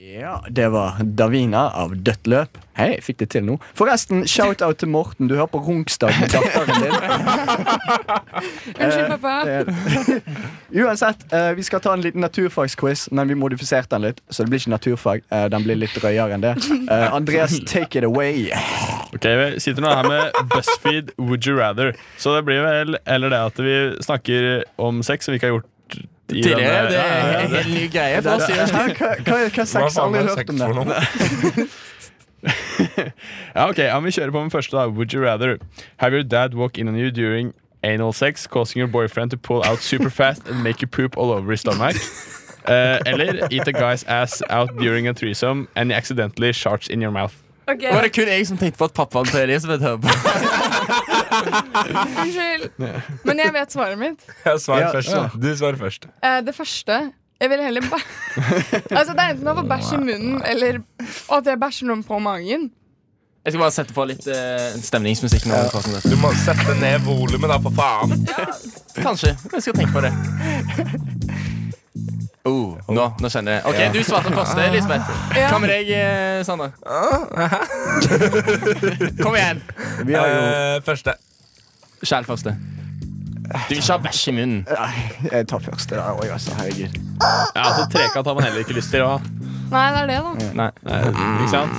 Speaker 5: Ja, Det var Davina av Dødt løp. Hei, jeg fikk det til nå. Forresten, shout-out til Morten. Du hører på Runkstad med datteren din.
Speaker 6: Unnskyld, pappa.
Speaker 5: Det- Uansett, eh, vi skal ta en liten naturfagsquiz, men vi modifiserte den litt. Så det blir ikke naturfag. eh, Den blir litt drøyere enn det. Eh, Andreas, take it away.
Speaker 2: Ok, Vi sitter nå her med BuzzFeed Would You Rather. Så det blir vel eller det at vi snakker om sex som vi ikke har gjort i
Speaker 7: Tidligere,
Speaker 2: denne-
Speaker 7: det
Speaker 2: Ja,
Speaker 7: er
Speaker 2: ja,
Speaker 7: en
Speaker 2: ja,
Speaker 7: helt ny greie for
Speaker 5: Hva,
Speaker 7: oss.
Speaker 5: hva, hva, hva
Speaker 1: Hva
Speaker 5: sex?
Speaker 1: faen
Speaker 5: Aldri
Speaker 1: er
Speaker 5: hørt
Speaker 1: sex
Speaker 5: om det.
Speaker 1: for noe?
Speaker 2: Ja, ok, ja, men Vi kjører på med første. da Would you rather have your dad walk in on you during anal sex, causing your boyfriend to pull out super fast and make you poop all over his stomach? Eh, eller eat a guy's ass out during a threesome and he accidentally sharts in your mouth.
Speaker 6: Ok,
Speaker 7: Var det kun jeg som tenkte på at pappaen til Elisabeth hører på?
Speaker 6: unnskyld. Men jeg vet svaret mitt.
Speaker 1: Jeg svarer
Speaker 5: Ja,
Speaker 1: først.
Speaker 5: ja.
Speaker 1: da. Du svarer først.
Speaker 6: Eh, det første Jeg vil heller bæ... Altså, det er enten å få bæsj i munnen eller at jeg bæsjer noen på magen.
Speaker 7: Jeg skal bare sette på litt eh, stemningsmusikk. nå
Speaker 1: Du må sette ned volumet, da, for faen.
Speaker 7: Kanskje. Jeg skal tenke på det. Oh, nå, nå kjenner jeg det. Ok, Du svarte først, Elisabeth.
Speaker 6: Ja.
Speaker 7: Hva med deg, eh, Sander? Kom igjen.
Speaker 5: Vi har jo
Speaker 1: Eh, første.
Speaker 7: Sjæl første. Du vil ikke ha bæsj i munnen.
Speaker 1: Eh.
Speaker 5: Nei, Jeg tar første. der også, altså. Herregud.
Speaker 2: Ja, altså Trekant har man heller ikke lyst til å ha.
Speaker 6: Nei, det er det, da.
Speaker 7: Nei.
Speaker 2: Ikke sant?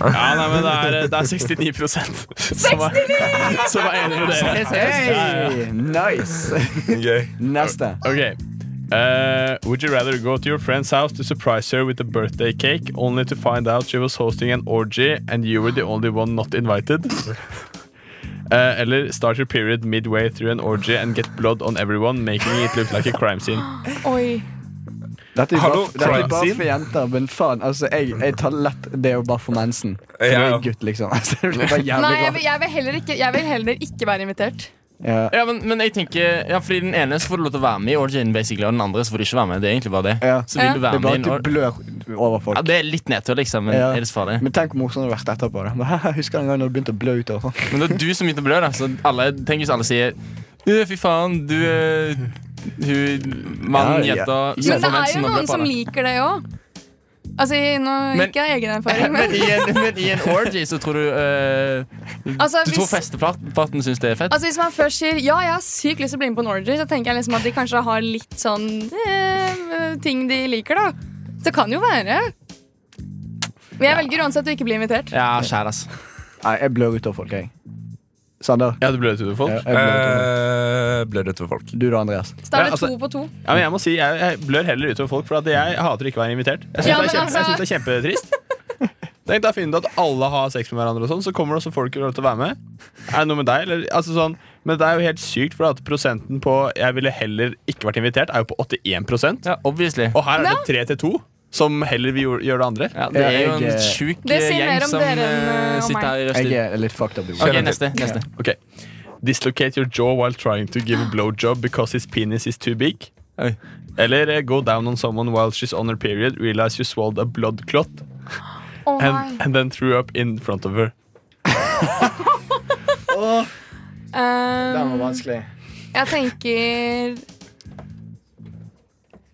Speaker 2: Ja, nei, men Det er, eh, det er 69 som er, som er enig med dere.
Speaker 5: Hey, nice!
Speaker 1: Gøy.
Speaker 5: Neste.
Speaker 2: Ok Eh, Would you rather go to your friend's house to surprise her with a birthday cake Only to find out she was hosting an orgy And you were the only one not invited Eh, Eller start your period midway through an orgy And get blood on everyone Making it look like a crime scene
Speaker 6: Oi.
Speaker 5: Dette er jo
Speaker 1: Hallo,
Speaker 5: bare, dette er
Speaker 1: crime
Speaker 5: bare
Speaker 1: scene?
Speaker 5: for jenter, men faen. Altså, jeg, jeg tar lett det å bare få mensen. For
Speaker 1: Ja.
Speaker 5: jeg er gutt, liksom. Altså, det blir bare
Speaker 6: Nei,
Speaker 5: jævlig
Speaker 6: jeg,
Speaker 5: rart.
Speaker 6: vil- jeg, vil heller ikke, jeg vil heller ikke være invitert.
Speaker 5: Ja.
Speaker 7: Ja, men, men jeg tenker Ja, fordi den ene så får du lov til å være med i Origin, basically, og den andre så får du ikke være med. Det er egentlig bare det.
Speaker 5: Ja.
Speaker 7: Så vil
Speaker 6: Ja.
Speaker 7: du
Speaker 5: Det
Speaker 7: være med
Speaker 5: er bare
Speaker 7: i en
Speaker 5: at
Speaker 7: or
Speaker 5: du blør over folk.
Speaker 7: ja, Det er litt nedtur, liksom, men
Speaker 5: Ja.
Speaker 7: er det så farlig?
Speaker 5: Men tenk hvor morsomt det hadde vært etterpå. da Men Husker du en gang når du begynte å blø utover? sånn?
Speaker 7: Men det er du som begynte å blø, da. Så alle, tenk hvis alle sier «Øh, Fy faen, du er Hun mann,
Speaker 5: Ja,
Speaker 7: jenta
Speaker 5: ja. Ja,
Speaker 7: som får
Speaker 6: Men det er jo
Speaker 7: mensen og blør
Speaker 6: noen
Speaker 7: på
Speaker 6: som
Speaker 7: det.
Speaker 6: liker det òg. Altså, nå,
Speaker 7: Men-
Speaker 6: ikke av egen erfaring, men
Speaker 7: Men i, en, men i en orgy så tror du øh,
Speaker 6: altså,
Speaker 7: Du tror
Speaker 6: hvis,
Speaker 7: festeparten syns det er fett?
Speaker 6: altså, hvis man først sier ja, jeg har sykt lyst til å bli med på en orgy, så tenker jeg liksom at de kanskje har litt sånn eh, ting de liker, da. Det kan jo være. Men jeg velger uansett å ikke bli invitert.
Speaker 7: Ja, kjære, ass.
Speaker 5: Nei, jeg blør utover folk, jeg. Sander.
Speaker 2: Ja, du bløt ut
Speaker 5: Ja,
Speaker 2: folk?
Speaker 5: jeg blør utover.
Speaker 1: Eh, Blør det utover folk.
Speaker 5: Du da, Andreas.
Speaker 6: Så da er
Speaker 2: Ja,
Speaker 6: det
Speaker 2: altså-
Speaker 6: to på to.
Speaker 2: Ja, men jeg må si, jeg, jeg blør heller utover folk, for at jeg hater ikke å være invitert. Jeg syns
Speaker 6: Ja,
Speaker 2: det, er
Speaker 6: men
Speaker 2: kjempe- jeg
Speaker 6: altså-
Speaker 2: synes det er kjempetrist. Tenk deg å finne ut at alle har sex med hverandre, og sånn så kommer det også folk til å være med. Er det noe med deg? Eller, altså sånn, men det er jo helt sykt, for at prosenten på 'jeg ville heller ikke vært invitert' er jo på 81
Speaker 7: Ja, obviously.
Speaker 2: Og her er det tre til to som heller vil gjøre- gjøre det andre.
Speaker 7: Ja, det er jo
Speaker 5: Jeg, eh,
Speaker 7: en sjuk
Speaker 6: Det sier
Speaker 7: eh,
Speaker 6: mer
Speaker 7: gjeng
Speaker 6: om
Speaker 7: som
Speaker 6: dere enn,
Speaker 7: eh,
Speaker 6: eh, om
Speaker 7: sitter her i
Speaker 5: Jeg eh,
Speaker 7: rushtid.
Speaker 5: er litt fucked up. du.
Speaker 7: Ok, neste. neste.
Speaker 2: Ok Dislocate your jaw while trying to give a blowjob because his penis is too big.
Speaker 7: Oi.
Speaker 2: Eller eh, go down on someone while she's on her period, realize you swallowed a blood clot,
Speaker 6: Å
Speaker 2: and,
Speaker 6: nei.
Speaker 2: and then threw up in front of her.
Speaker 5: Den var
Speaker 6: Um,
Speaker 5: vanskelig.
Speaker 6: jeg tenker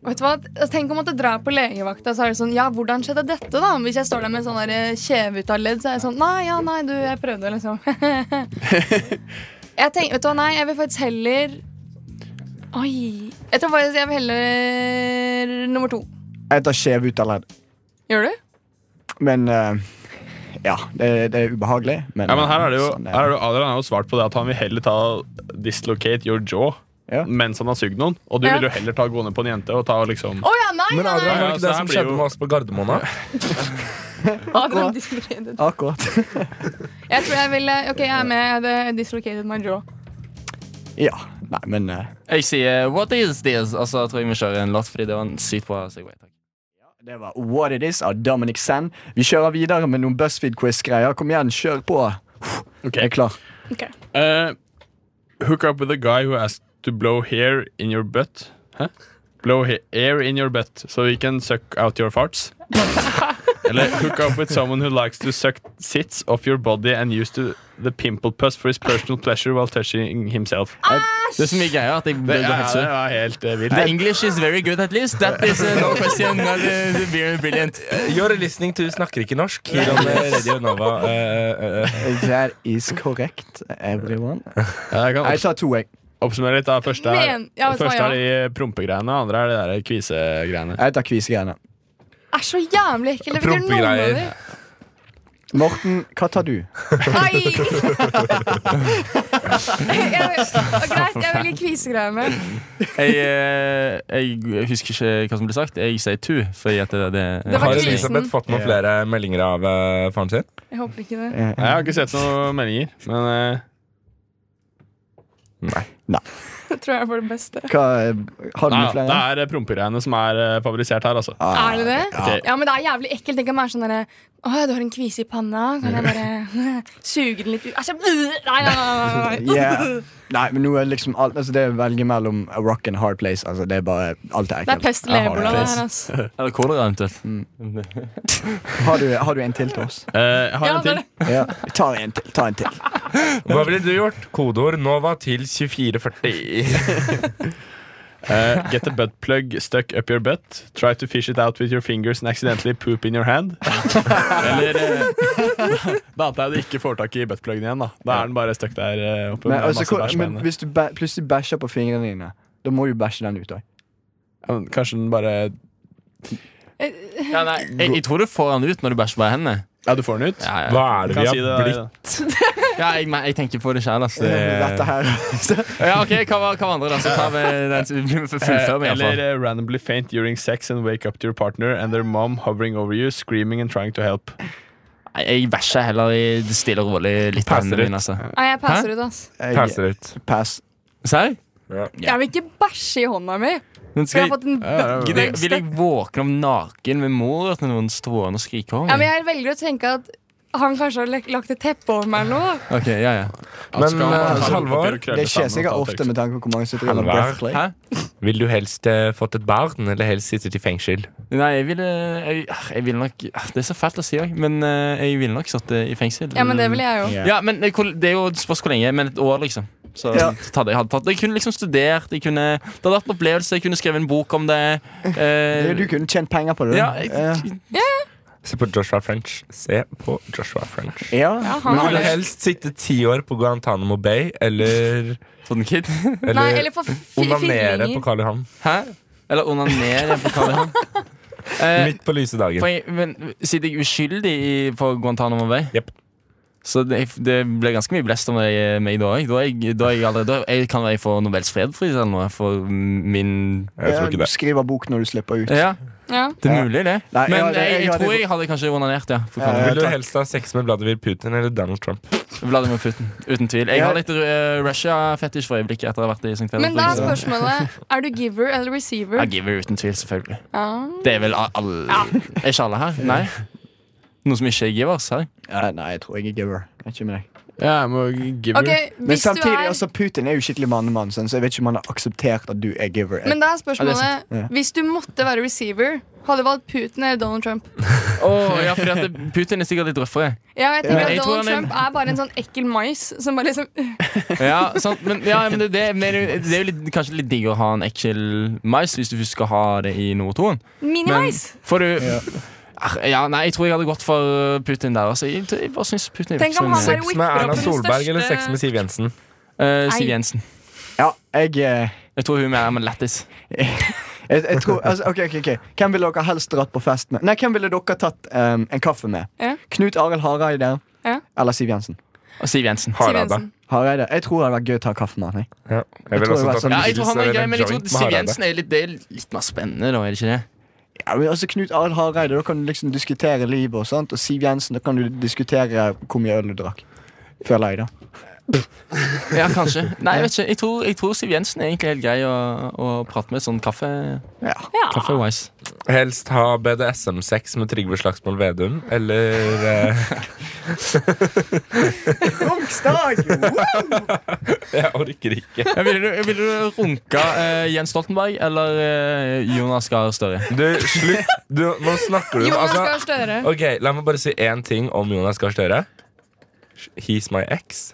Speaker 6: Vet du hva? Altså, Tenk om at jeg drar på legevakta, så er det sånn Ja, hvordan skjedde dette, da? Hvis jeg står der med en sånn der, eh, kjeve ut av ledd, så er jeg sånn Nei, ja, nei, du, jeg prøvde, liksom. jeg tenker, vet du hva, nei, jeg vil faktisk heller Oi. Jeg tror faktisk jeg vil heller nummer to.
Speaker 5: Jeg tar skjev ut av ledd.
Speaker 6: Gjør du?
Speaker 5: Men eh, ja, det, det er ubehagelig. Men,
Speaker 2: Ja, men her er det jo,
Speaker 5: sånn
Speaker 2: her er det, jo- Adrian har jo svart på det at han vil heller ta dislocate your jaw
Speaker 5: Ja.
Speaker 2: mens han har sugd noen. Og du
Speaker 6: Ja.
Speaker 2: vil jo heller ta gå ned på en jente og ta liksom
Speaker 6: Å ja, nei,
Speaker 1: Men Adrian,
Speaker 6: nei, nei!
Speaker 1: var det
Speaker 2: Ja,
Speaker 1: ikke det som
Speaker 2: så her blir
Speaker 1: skjedde
Speaker 2: jo-
Speaker 1: med oss på Gardermoen? da?
Speaker 6: Adrian dislocated.
Speaker 5: Akkurat.
Speaker 6: Jeg tror jeg ville Ok, jeg er med. Jeg hadde dislocated my jaw.
Speaker 5: Ja. Nei, men eh,
Speaker 7: Jeg sier What is this? Og så tror jeg vi kjører en låt, fordi det var en sykt bra segway. Takk.
Speaker 5: det var What It Is av Dominic Sand. Vi kjører videre med noen BuzzFeed-quiz-greier. Kom igjen, kjør på. Jeg er klar.
Speaker 2: Eh, Hook up with a guy who asked to blow hair in your butt. Hæ? Blow ha- air in your butt so he can suck out your farts. Eller hook up with someone who likes to suck sits off your body and use to the pimple pus for his personal pleasure while touching himself.
Speaker 7: Det er så mye greier at jeg
Speaker 2: Det,
Speaker 7: blir
Speaker 2: ja,
Speaker 7: helt
Speaker 2: det
Speaker 7: sur.
Speaker 2: var helt eh, vilt.
Speaker 7: The English is very good, at least. That is uh, no question. That is eh, very brilliant.
Speaker 1: You're Eh, listening to Snakker ikke norsk Here on eh, Radio Nova. eh, eh, eh.
Speaker 5: That is correct, everyone.
Speaker 2: Ja, Jeg kan
Speaker 5: Jeg
Speaker 2: opps-
Speaker 5: tar to, jeg.
Speaker 2: oppsummere litt. Da. Første er,
Speaker 6: Men- ja, vet du hva,
Speaker 2: første er de prompegreiene, andre er de der kvisegreiene.
Speaker 5: Jeg tar kvisegreiene.
Speaker 6: er så jævlig ekkel. Jeg fikk ikke noen
Speaker 1: Prompegreier.
Speaker 6: av dem.
Speaker 5: Morten, hva tar du?
Speaker 6: Ai! Jeg- Greit, jeg velger kvisegreiene.
Speaker 7: Jeg, eh, jeg husker ikke hva som ble sagt. Jeg sier two. Fordi at det, det,
Speaker 6: Det var
Speaker 1: Har
Speaker 6: Krisen.
Speaker 1: Elisabeth fått noen flere meldinger av eh, faren sin?
Speaker 6: Jeg håper ikke det.
Speaker 5: Eh,
Speaker 2: Jeg har ikke sett noen meldinger, men eh,
Speaker 1: Nei.
Speaker 6: Jeg tror jeg får det beste.
Speaker 5: Hva, eh, har du
Speaker 2: nei,
Speaker 5: noen
Speaker 2: det
Speaker 5: flere?
Speaker 2: er prompegreiene som er eh, favorisert her, altså.
Speaker 5: Ah,
Speaker 6: Er det det?
Speaker 2: Ok.
Speaker 6: Ja, men det er jævlig ekkelt. Tenk om jeg er sånn derre Å, du har en kvise i panna. Kan jeg bare suge den litt ut? Æsj, jeg- Nei, nei, nei. nei, nei.
Speaker 5: Yeah. Nei, men nå er liksom alt altså Det å velge mellom a rock and a hard place, altså det er bare Alt er
Speaker 6: Det er
Speaker 5: ekkelt.
Speaker 6: pest lebola, det her, altså.
Speaker 7: Eller kolera, eventuelt.
Speaker 5: Har du, har du en til til oss?
Speaker 2: Eh, jeg har
Speaker 6: Ja,
Speaker 2: en til.
Speaker 6: det-
Speaker 5: Ja. Ta en til. Ta en til.
Speaker 1: Hva ville du gjort? Kodeord Nova til 2440.
Speaker 2: Uh, get a butt plug stuck up your butt. Try to fish it out with your fingers and accidentally poop in your hand. Eller eh, Da antar jeg du ikke får tak i buttpluggen igjen. Da Da er den bare stuck der eh, oppe.
Speaker 5: Men,
Speaker 2: med
Speaker 5: altså,
Speaker 2: masse
Speaker 5: hvor-
Speaker 2: bæsj på
Speaker 5: men
Speaker 2: henne.
Speaker 5: hvis du bæ plutselig bæsjer på fingrene dine, da må du bæsje den ut òg.
Speaker 2: Ja, men Kanskje den bare
Speaker 7: Ja, nei, jeg, jeg tror du får den ut når du bæsjer på hendene.
Speaker 2: Ja, du får den ut?
Speaker 7: Ja, ja.
Speaker 1: Hva er det vi
Speaker 2: Kan
Speaker 1: har
Speaker 2: si det,
Speaker 1: blitt?
Speaker 7: ja jeg, men jeg tenker på det sjæl, altså.
Speaker 5: Dette her
Speaker 7: Ja, ok, hva var, hva var andre, da? Så tar vi den som vi
Speaker 2: Eh,
Speaker 7: fullfører,
Speaker 2: Eller
Speaker 7: iallfall.
Speaker 2: eh, randomly faint during sex and wake up to your partner and their mom hovering over you, screaming and trying to help.
Speaker 7: Jeg bæsjer heller i det stille og rolig litt på
Speaker 1: Passer
Speaker 7: hendene
Speaker 1: ut.
Speaker 7: mine, altså.
Speaker 6: Nei, jeg passer ut, ass.
Speaker 5: jeg,
Speaker 1: Passer ut.
Speaker 5: Pass.
Speaker 7: Serr?
Speaker 6: Jeg vil ikke bæsje i hånda mi.
Speaker 7: Men
Speaker 6: For jeg har
Speaker 7: skal,
Speaker 6: fått en
Speaker 7: jeg-
Speaker 6: bøtte.
Speaker 7: gidder- vil jeg våkne opp naken med mor til noen strående og skrike over
Speaker 6: Ja, men
Speaker 7: meg?
Speaker 6: jeg velger å tenke at han kanskje har lagt et teppe over meg eller noe.
Speaker 7: Ok, ja, ja.
Speaker 1: Men eh, Halvor,
Speaker 5: Det skjer sikkert ofte med tanke på hvor mange som driver med
Speaker 1: Halvor.
Speaker 5: Berkeley.
Speaker 7: Hæ?
Speaker 1: vil du helst eh, fått et barn, eller helst sittet i fengsel?
Speaker 7: Nei, jeg ville jeg, ah, jeg ville nok ah, Det er så fælt å si òg, men eh, jeg ville nok sittet i fengsel.
Speaker 6: Ja, men det vil jeg jo.
Speaker 5: Ja.
Speaker 7: Ja, men det hvor- det er jo et spørsmål hvor lenge, men et år, liksom. Så,
Speaker 5: Ja.
Speaker 7: så hadde jeg, hadde tatt. jeg kunne liksom studert, jeg kunne, det hadde vært en opplevelse, jeg kunne skrevet en bok om det. eh,
Speaker 5: Du kunne tjent penger på det. Eh,
Speaker 7: ja,
Speaker 5: du.
Speaker 7: jeg,
Speaker 5: Ja.
Speaker 1: Se på Joshua French. Se på Joshua French.
Speaker 5: Ja.
Speaker 6: Ja, han
Speaker 1: Vil
Speaker 6: har
Speaker 1: du
Speaker 6: det.
Speaker 1: helst sitte ti år på Guantánamo Bay, eller,
Speaker 7: for den kid.
Speaker 1: eller,
Speaker 6: Nei, eller for fi-
Speaker 1: onanere på
Speaker 6: firlinger.
Speaker 1: Karl Johan?
Speaker 7: Hæ? Eller onanere på Karl Johan. Eh,
Speaker 1: Midt på lyse dagen.
Speaker 7: for jeg- men siden jeg er uskyldig i, på Guantánamo Bay,
Speaker 1: Jepp.
Speaker 7: så det, det ble ganske mye blest om meg, meg da òg. Da, er jeg, da, er jeg allerede- da jeg kan jeg få Nobels fredspris eller noe for min
Speaker 1: Jeg tror ikke
Speaker 5: Eh, Du
Speaker 1: det.
Speaker 5: skriver bok når du slipper ut.
Speaker 7: Ja,
Speaker 6: Ja.
Speaker 7: det er
Speaker 5: Ja.
Speaker 7: mulig, det.
Speaker 5: Nei,
Speaker 7: Men
Speaker 5: ja,
Speaker 7: jeg,
Speaker 5: det- jeg
Speaker 7: jeg,
Speaker 5: hadde-
Speaker 7: tror jeg hadde kanskje onanert, ja. For
Speaker 5: Ja,
Speaker 7: Karl
Speaker 5: ja.
Speaker 1: Vil du
Speaker 5: takk.
Speaker 1: helst ha sex med Vladimir Putin eller Donald Trump?
Speaker 7: Vladimir Putin. Uten tvil. Jeg har litt eh, Russia-fetisj for øyeblikket etter å ha vært i St.
Speaker 6: Men da er
Speaker 7: Petersburg.
Speaker 6: spørsmålet er du giver eller receiver.
Speaker 7: Ja, giver uten tvil, selvfølgelig.
Speaker 6: Ja.
Speaker 7: Det er vel a- alle Er ikke alle her? Nei? Noen som ikke er givers her?
Speaker 5: Ja, nei, jeg tror jeg er giver. Jeg er Ikke med deg.
Speaker 2: Ja, jeg må give
Speaker 6: Ok,
Speaker 5: Men
Speaker 6: hvis du
Speaker 5: samtidig,
Speaker 6: er
Speaker 5: altså, Putin er jo skikkelig mannemann, sånn, så jeg vet ikke om han har akseptert at du er giver.
Speaker 6: Men da er
Speaker 7: Ja, det er
Speaker 6: spørsmålet
Speaker 5: Ja.
Speaker 6: Hvis du måtte være receiver, hadde du valgt Putin eller Donald Trump?
Speaker 7: Oh, ja, fordi at det- Putin er sikkert litt røffere.
Speaker 6: Ja, jeg tenker
Speaker 7: Men
Speaker 6: at
Speaker 7: jeg tror
Speaker 6: Donald
Speaker 7: han er-
Speaker 6: Trump er bare en sånn ekkel mais som bare liksom
Speaker 7: Ja, sant, men, ja, men det, det, men det er jo- det er jo litt, kanskje litt digg å ha en ekkel mais hvis du først skal ha det i nummer toen. Men
Speaker 6: Minimais!
Speaker 7: får du Ah, ja, Nei, jeg tror jeg hadde gått for Putin der. Altså, jeg, jeg bare synes Putin er
Speaker 6: Tenk
Speaker 7: virkelig-
Speaker 6: om han bare
Speaker 1: Sex med
Speaker 6: whipper
Speaker 1: Erna
Speaker 6: opp den
Speaker 1: Solberg eller sex
Speaker 6: største
Speaker 1: med Siv Jensen?
Speaker 7: Eh, Siv
Speaker 6: Nei.
Speaker 7: Jensen.
Speaker 5: Ja, jeg, eh,
Speaker 7: Jeg tror hun er mer med lættis.
Speaker 5: jeg, jeg tror altså, Ok, ok, ok Hvem ville dere helst dratt på fest med? Nei, hvem ville dere tatt em, en kaffe med?
Speaker 6: Ja.
Speaker 5: Knut Arild Hareide
Speaker 6: Ja.
Speaker 5: eller Siv Jensen?
Speaker 7: Og Siv Jensen.
Speaker 6: Siv
Speaker 1: Hareide.
Speaker 6: Jensen.
Speaker 5: Hareide, Jeg tror det hadde vært gøy å ta kaffe med han. jeg.
Speaker 1: Ja. Jeg
Speaker 5: tror
Speaker 1: vil
Speaker 5: det
Speaker 1: også
Speaker 5: var
Speaker 1: ta
Speaker 5: sånn-
Speaker 7: Ja, jeg tror han er
Speaker 1: eller
Speaker 7: grei, men jeg tror
Speaker 1: joint med
Speaker 7: Siv
Speaker 1: Hareide.
Speaker 7: Jensen er litt, det er litt mer spennende, da, er det ikke det?
Speaker 5: Ja, men altså Knut Arild Hareide, da kan du liksom diskutere livet og sånt. Og Siv Jensen, da kan du diskutere hvor mye øl du drakk. Føler jeg, da.
Speaker 7: Ja, kanskje. Nei, jeg vet ikke. Jeg tror, jeg tror Siv Jensen er egentlig helt grei å, å prate med sånn kaffe...
Speaker 5: Ja.
Speaker 7: Kaffe-wise.
Speaker 1: Helst ha BDSM-sex med Trygve Slagsvold Vedum, eller eh, Jeg orker ikke.
Speaker 7: Ville du, Eh, vil du runka eh, Jens Stoltenberg eller eh, Jonas Gahr Støre?
Speaker 1: Du, slutt. Du, nå snakker du om
Speaker 6: Jonas
Speaker 1: altså,
Speaker 6: Gahr Støre.
Speaker 1: Ok, La meg bare si én ting om Jonas Gahr Støre. He's my ex.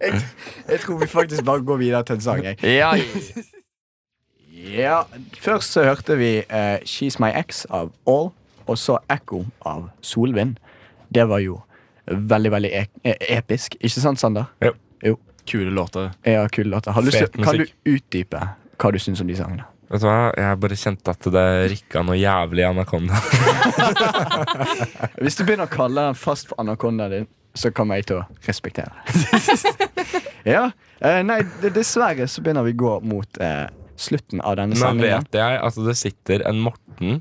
Speaker 5: Jeg tror vi faktisk bare går videre til en sang. Jeg.
Speaker 7: Ja,
Speaker 5: Ja, Først så hørte vi eh, She's My Ex av All, og så Echo av Solvind. Det var jo veldig, veldig e eh, episk. Ikke sant, Sander?
Speaker 1: Jo.
Speaker 7: kule låter.
Speaker 5: Ja, kul låt. Har du lyst
Speaker 1: Fet
Speaker 5: til- Kan du
Speaker 1: musikk.
Speaker 5: utdype hva du syns om de sangene?
Speaker 1: Vet du hva? Jeg bare kjente at det rikka noe jævlig i anakonda.
Speaker 5: Hvis du begynner å kalle den fast for anakondaen din, så kommer jeg til å respektere det. ja. eh, nei, d- dessverre så begynner vi å gå mot eh, slutten av denne
Speaker 1: Nå
Speaker 5: sendingen.
Speaker 1: vet jeg at det sitter en Morten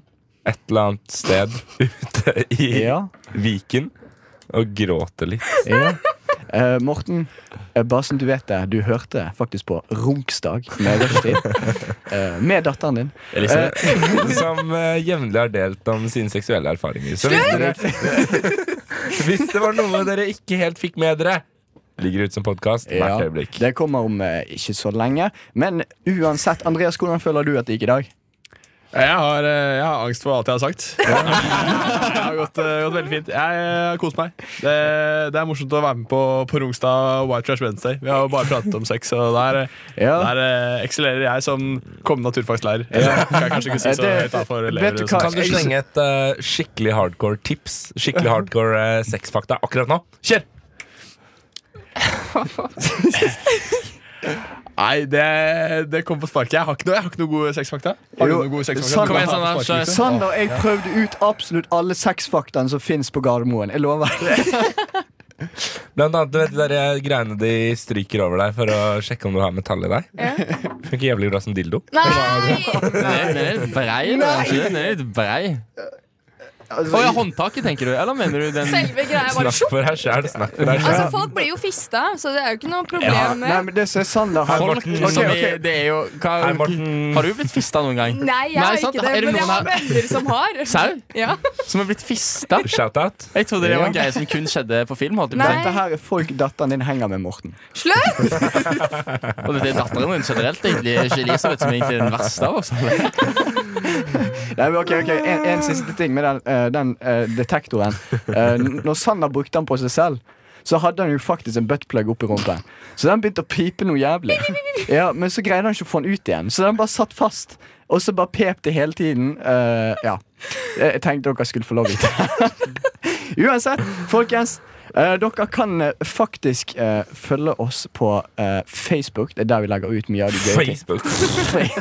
Speaker 1: et eller annet sted ute i
Speaker 5: Ja,
Speaker 1: Viken og gråter litt.
Speaker 5: ja. Eh, Morten, eh, bare som du vet det, du hørte faktisk på Runksdag med Rushdie. eh, med datteren din.
Speaker 1: Elisabeth. som eh, jevnlig har delt om sine seksuelle erfaringer. Så hvis, dere, hvis det var noe dere ikke helt fikk med dere, ligger ute som podkast hvert
Speaker 5: Ja,
Speaker 1: øyeblikk.
Speaker 5: det kommer om eh, ikke så lenge. Men uansett, Andreas, hvordan føler du at det gikk i dag?
Speaker 2: Jeg har, eh, jeg har angst for alt jeg har sagt. Det har gått, eh, gått veldig fint. Jeg eh, har kost meg. Det, det er morsomt å være med på, på Rungstad White Trash Wednesday. Vi har jo bare pratet om sex, og der, eh,
Speaker 5: Ja.
Speaker 2: der eh, eksellerer jeg som kommende naturfagslærer. Eller, kan jeg kanskje ikke si så
Speaker 5: Det-
Speaker 2: høyt da for
Speaker 5: vet
Speaker 2: elever.
Speaker 5: du
Speaker 2: og sånn.
Speaker 5: hva?
Speaker 2: sånt.
Speaker 1: Kan du slenge et eh, skikkelig hardcore tips? Skikkelig hardcore eh, sexfakta akkurat nå? Kjør!
Speaker 2: Nei, det, det kom på sparket. Jeg har ikke noe, jeg har ikke noe gode sexfakta. Har du
Speaker 5: Jo,
Speaker 2: noen gode
Speaker 5: Sander-
Speaker 2: sexfakta? sånn,
Speaker 5: Kom igjen,
Speaker 7: Sander, kjør.
Speaker 2: Sander.
Speaker 5: Sander, jeg prøvde ut absolutt alle sexfaktaene som fins på Gardermoen. Jeg lover.
Speaker 1: Blant annet du vet, de der eh, greiene de stryker over deg for å sjekke om du har metall i deg.
Speaker 6: Ja.
Speaker 1: Funker jævlig bra som dildo.
Speaker 6: Nei!
Speaker 7: Den er den er litt brei, da. er Den ikke det? Den er litt brei. Å
Speaker 5: altså,
Speaker 7: ja, håndtaket, tenker du? Eller mener du den
Speaker 6: Selve greia var
Speaker 1: Snakk
Speaker 6: sjopp.
Speaker 1: for deg sjæl, snakk for deg
Speaker 6: Altså,
Speaker 1: sjæl.
Speaker 6: folk blir jo fista, så det er jo ikke noe
Speaker 5: ja,
Speaker 6: problem
Speaker 5: nei,
Speaker 6: med
Speaker 5: men det som er Sander her
Speaker 1: Folk
Speaker 7: Folk
Speaker 1: Morten,
Speaker 7: som
Speaker 5: ok,
Speaker 7: er, det er jo hva,
Speaker 1: Hei, Morten.
Speaker 7: Har du blitt fista noen gang?
Speaker 6: Nei, jeg
Speaker 7: Nei,
Speaker 6: har
Speaker 7: sant? Er
Speaker 6: ikke det,
Speaker 7: det
Speaker 6: men jeg
Speaker 7: noen
Speaker 6: har
Speaker 7: her-
Speaker 6: venner som har.
Speaker 7: Sau?
Speaker 6: Ja.
Speaker 7: Som er blitt fista?
Speaker 1: Shout-out.
Speaker 7: Jeg trodde det var en
Speaker 5: Ja.
Speaker 7: greie som kun skjedde på film. Holdt jeg på å si.
Speaker 5: Dette her er folk datteren din henger med, Morten.
Speaker 6: Slutt!
Speaker 7: Og det er datteren din generelt, egentlig. Ikke Elisabeth, som er egentlig den verste av oss. alle.
Speaker 5: Nei, men ok, ok, en, en siste ting med den, eh, den eh, detektoren. Eh, n- når Sander brukte den på seg selv, så hadde han jo faktisk en buttplug oppi rumpen. Så den begynte å pipe noe jævlig. Ja, Men så greide han ikke å få den ut igjen, så den bare satt fast. Og så bare pep det hele tiden. Eh, ja. Jeg jeg tenkte dere skulle få lov til det. Uansett, folkens. eh, dere kan eh, faktisk eh, følge oss på eh, Facebook. Det er der vi legger ut mye av de gøye ting.
Speaker 1: Facebook.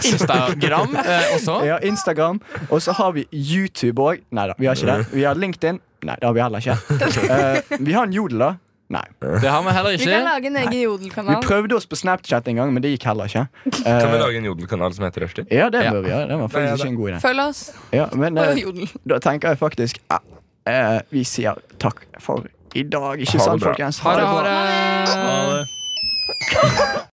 Speaker 7: Instagram eh, også.
Speaker 5: Ja, Instagram. Og så har vi YouTube òg. Nei da, vi har ikke det. Vi har LinkedIn. Nei, det har vi heller ikke. Eh, vi har en Jodel, da. Nei.
Speaker 7: Det har vi heller
Speaker 6: Vi kan
Speaker 7: ikke.
Speaker 6: lage en egen
Speaker 5: Vi
Speaker 6: jodelkanal.
Speaker 5: prøvde oss på Snapchat en gang, men det gikk heller ikke.
Speaker 1: Kan vi
Speaker 5: Eh,
Speaker 1: lage en jodelkanal som heter Rushdie?
Speaker 5: ja, det
Speaker 7: Ja.
Speaker 5: bør vi gjøre. Det var
Speaker 1: Nei, ja,
Speaker 5: faktisk ikke en god idé.
Speaker 6: Følg oss
Speaker 5: Ja, men
Speaker 6: på
Speaker 5: eh,
Speaker 6: jodel.
Speaker 5: da tenker jeg faktisk ja, eh, Vi sier takk for i dag, ikke
Speaker 1: Ha det
Speaker 5: sant,
Speaker 1: bra.
Speaker 5: folkens?
Speaker 7: Ha det, ha det.
Speaker 2: Ha det.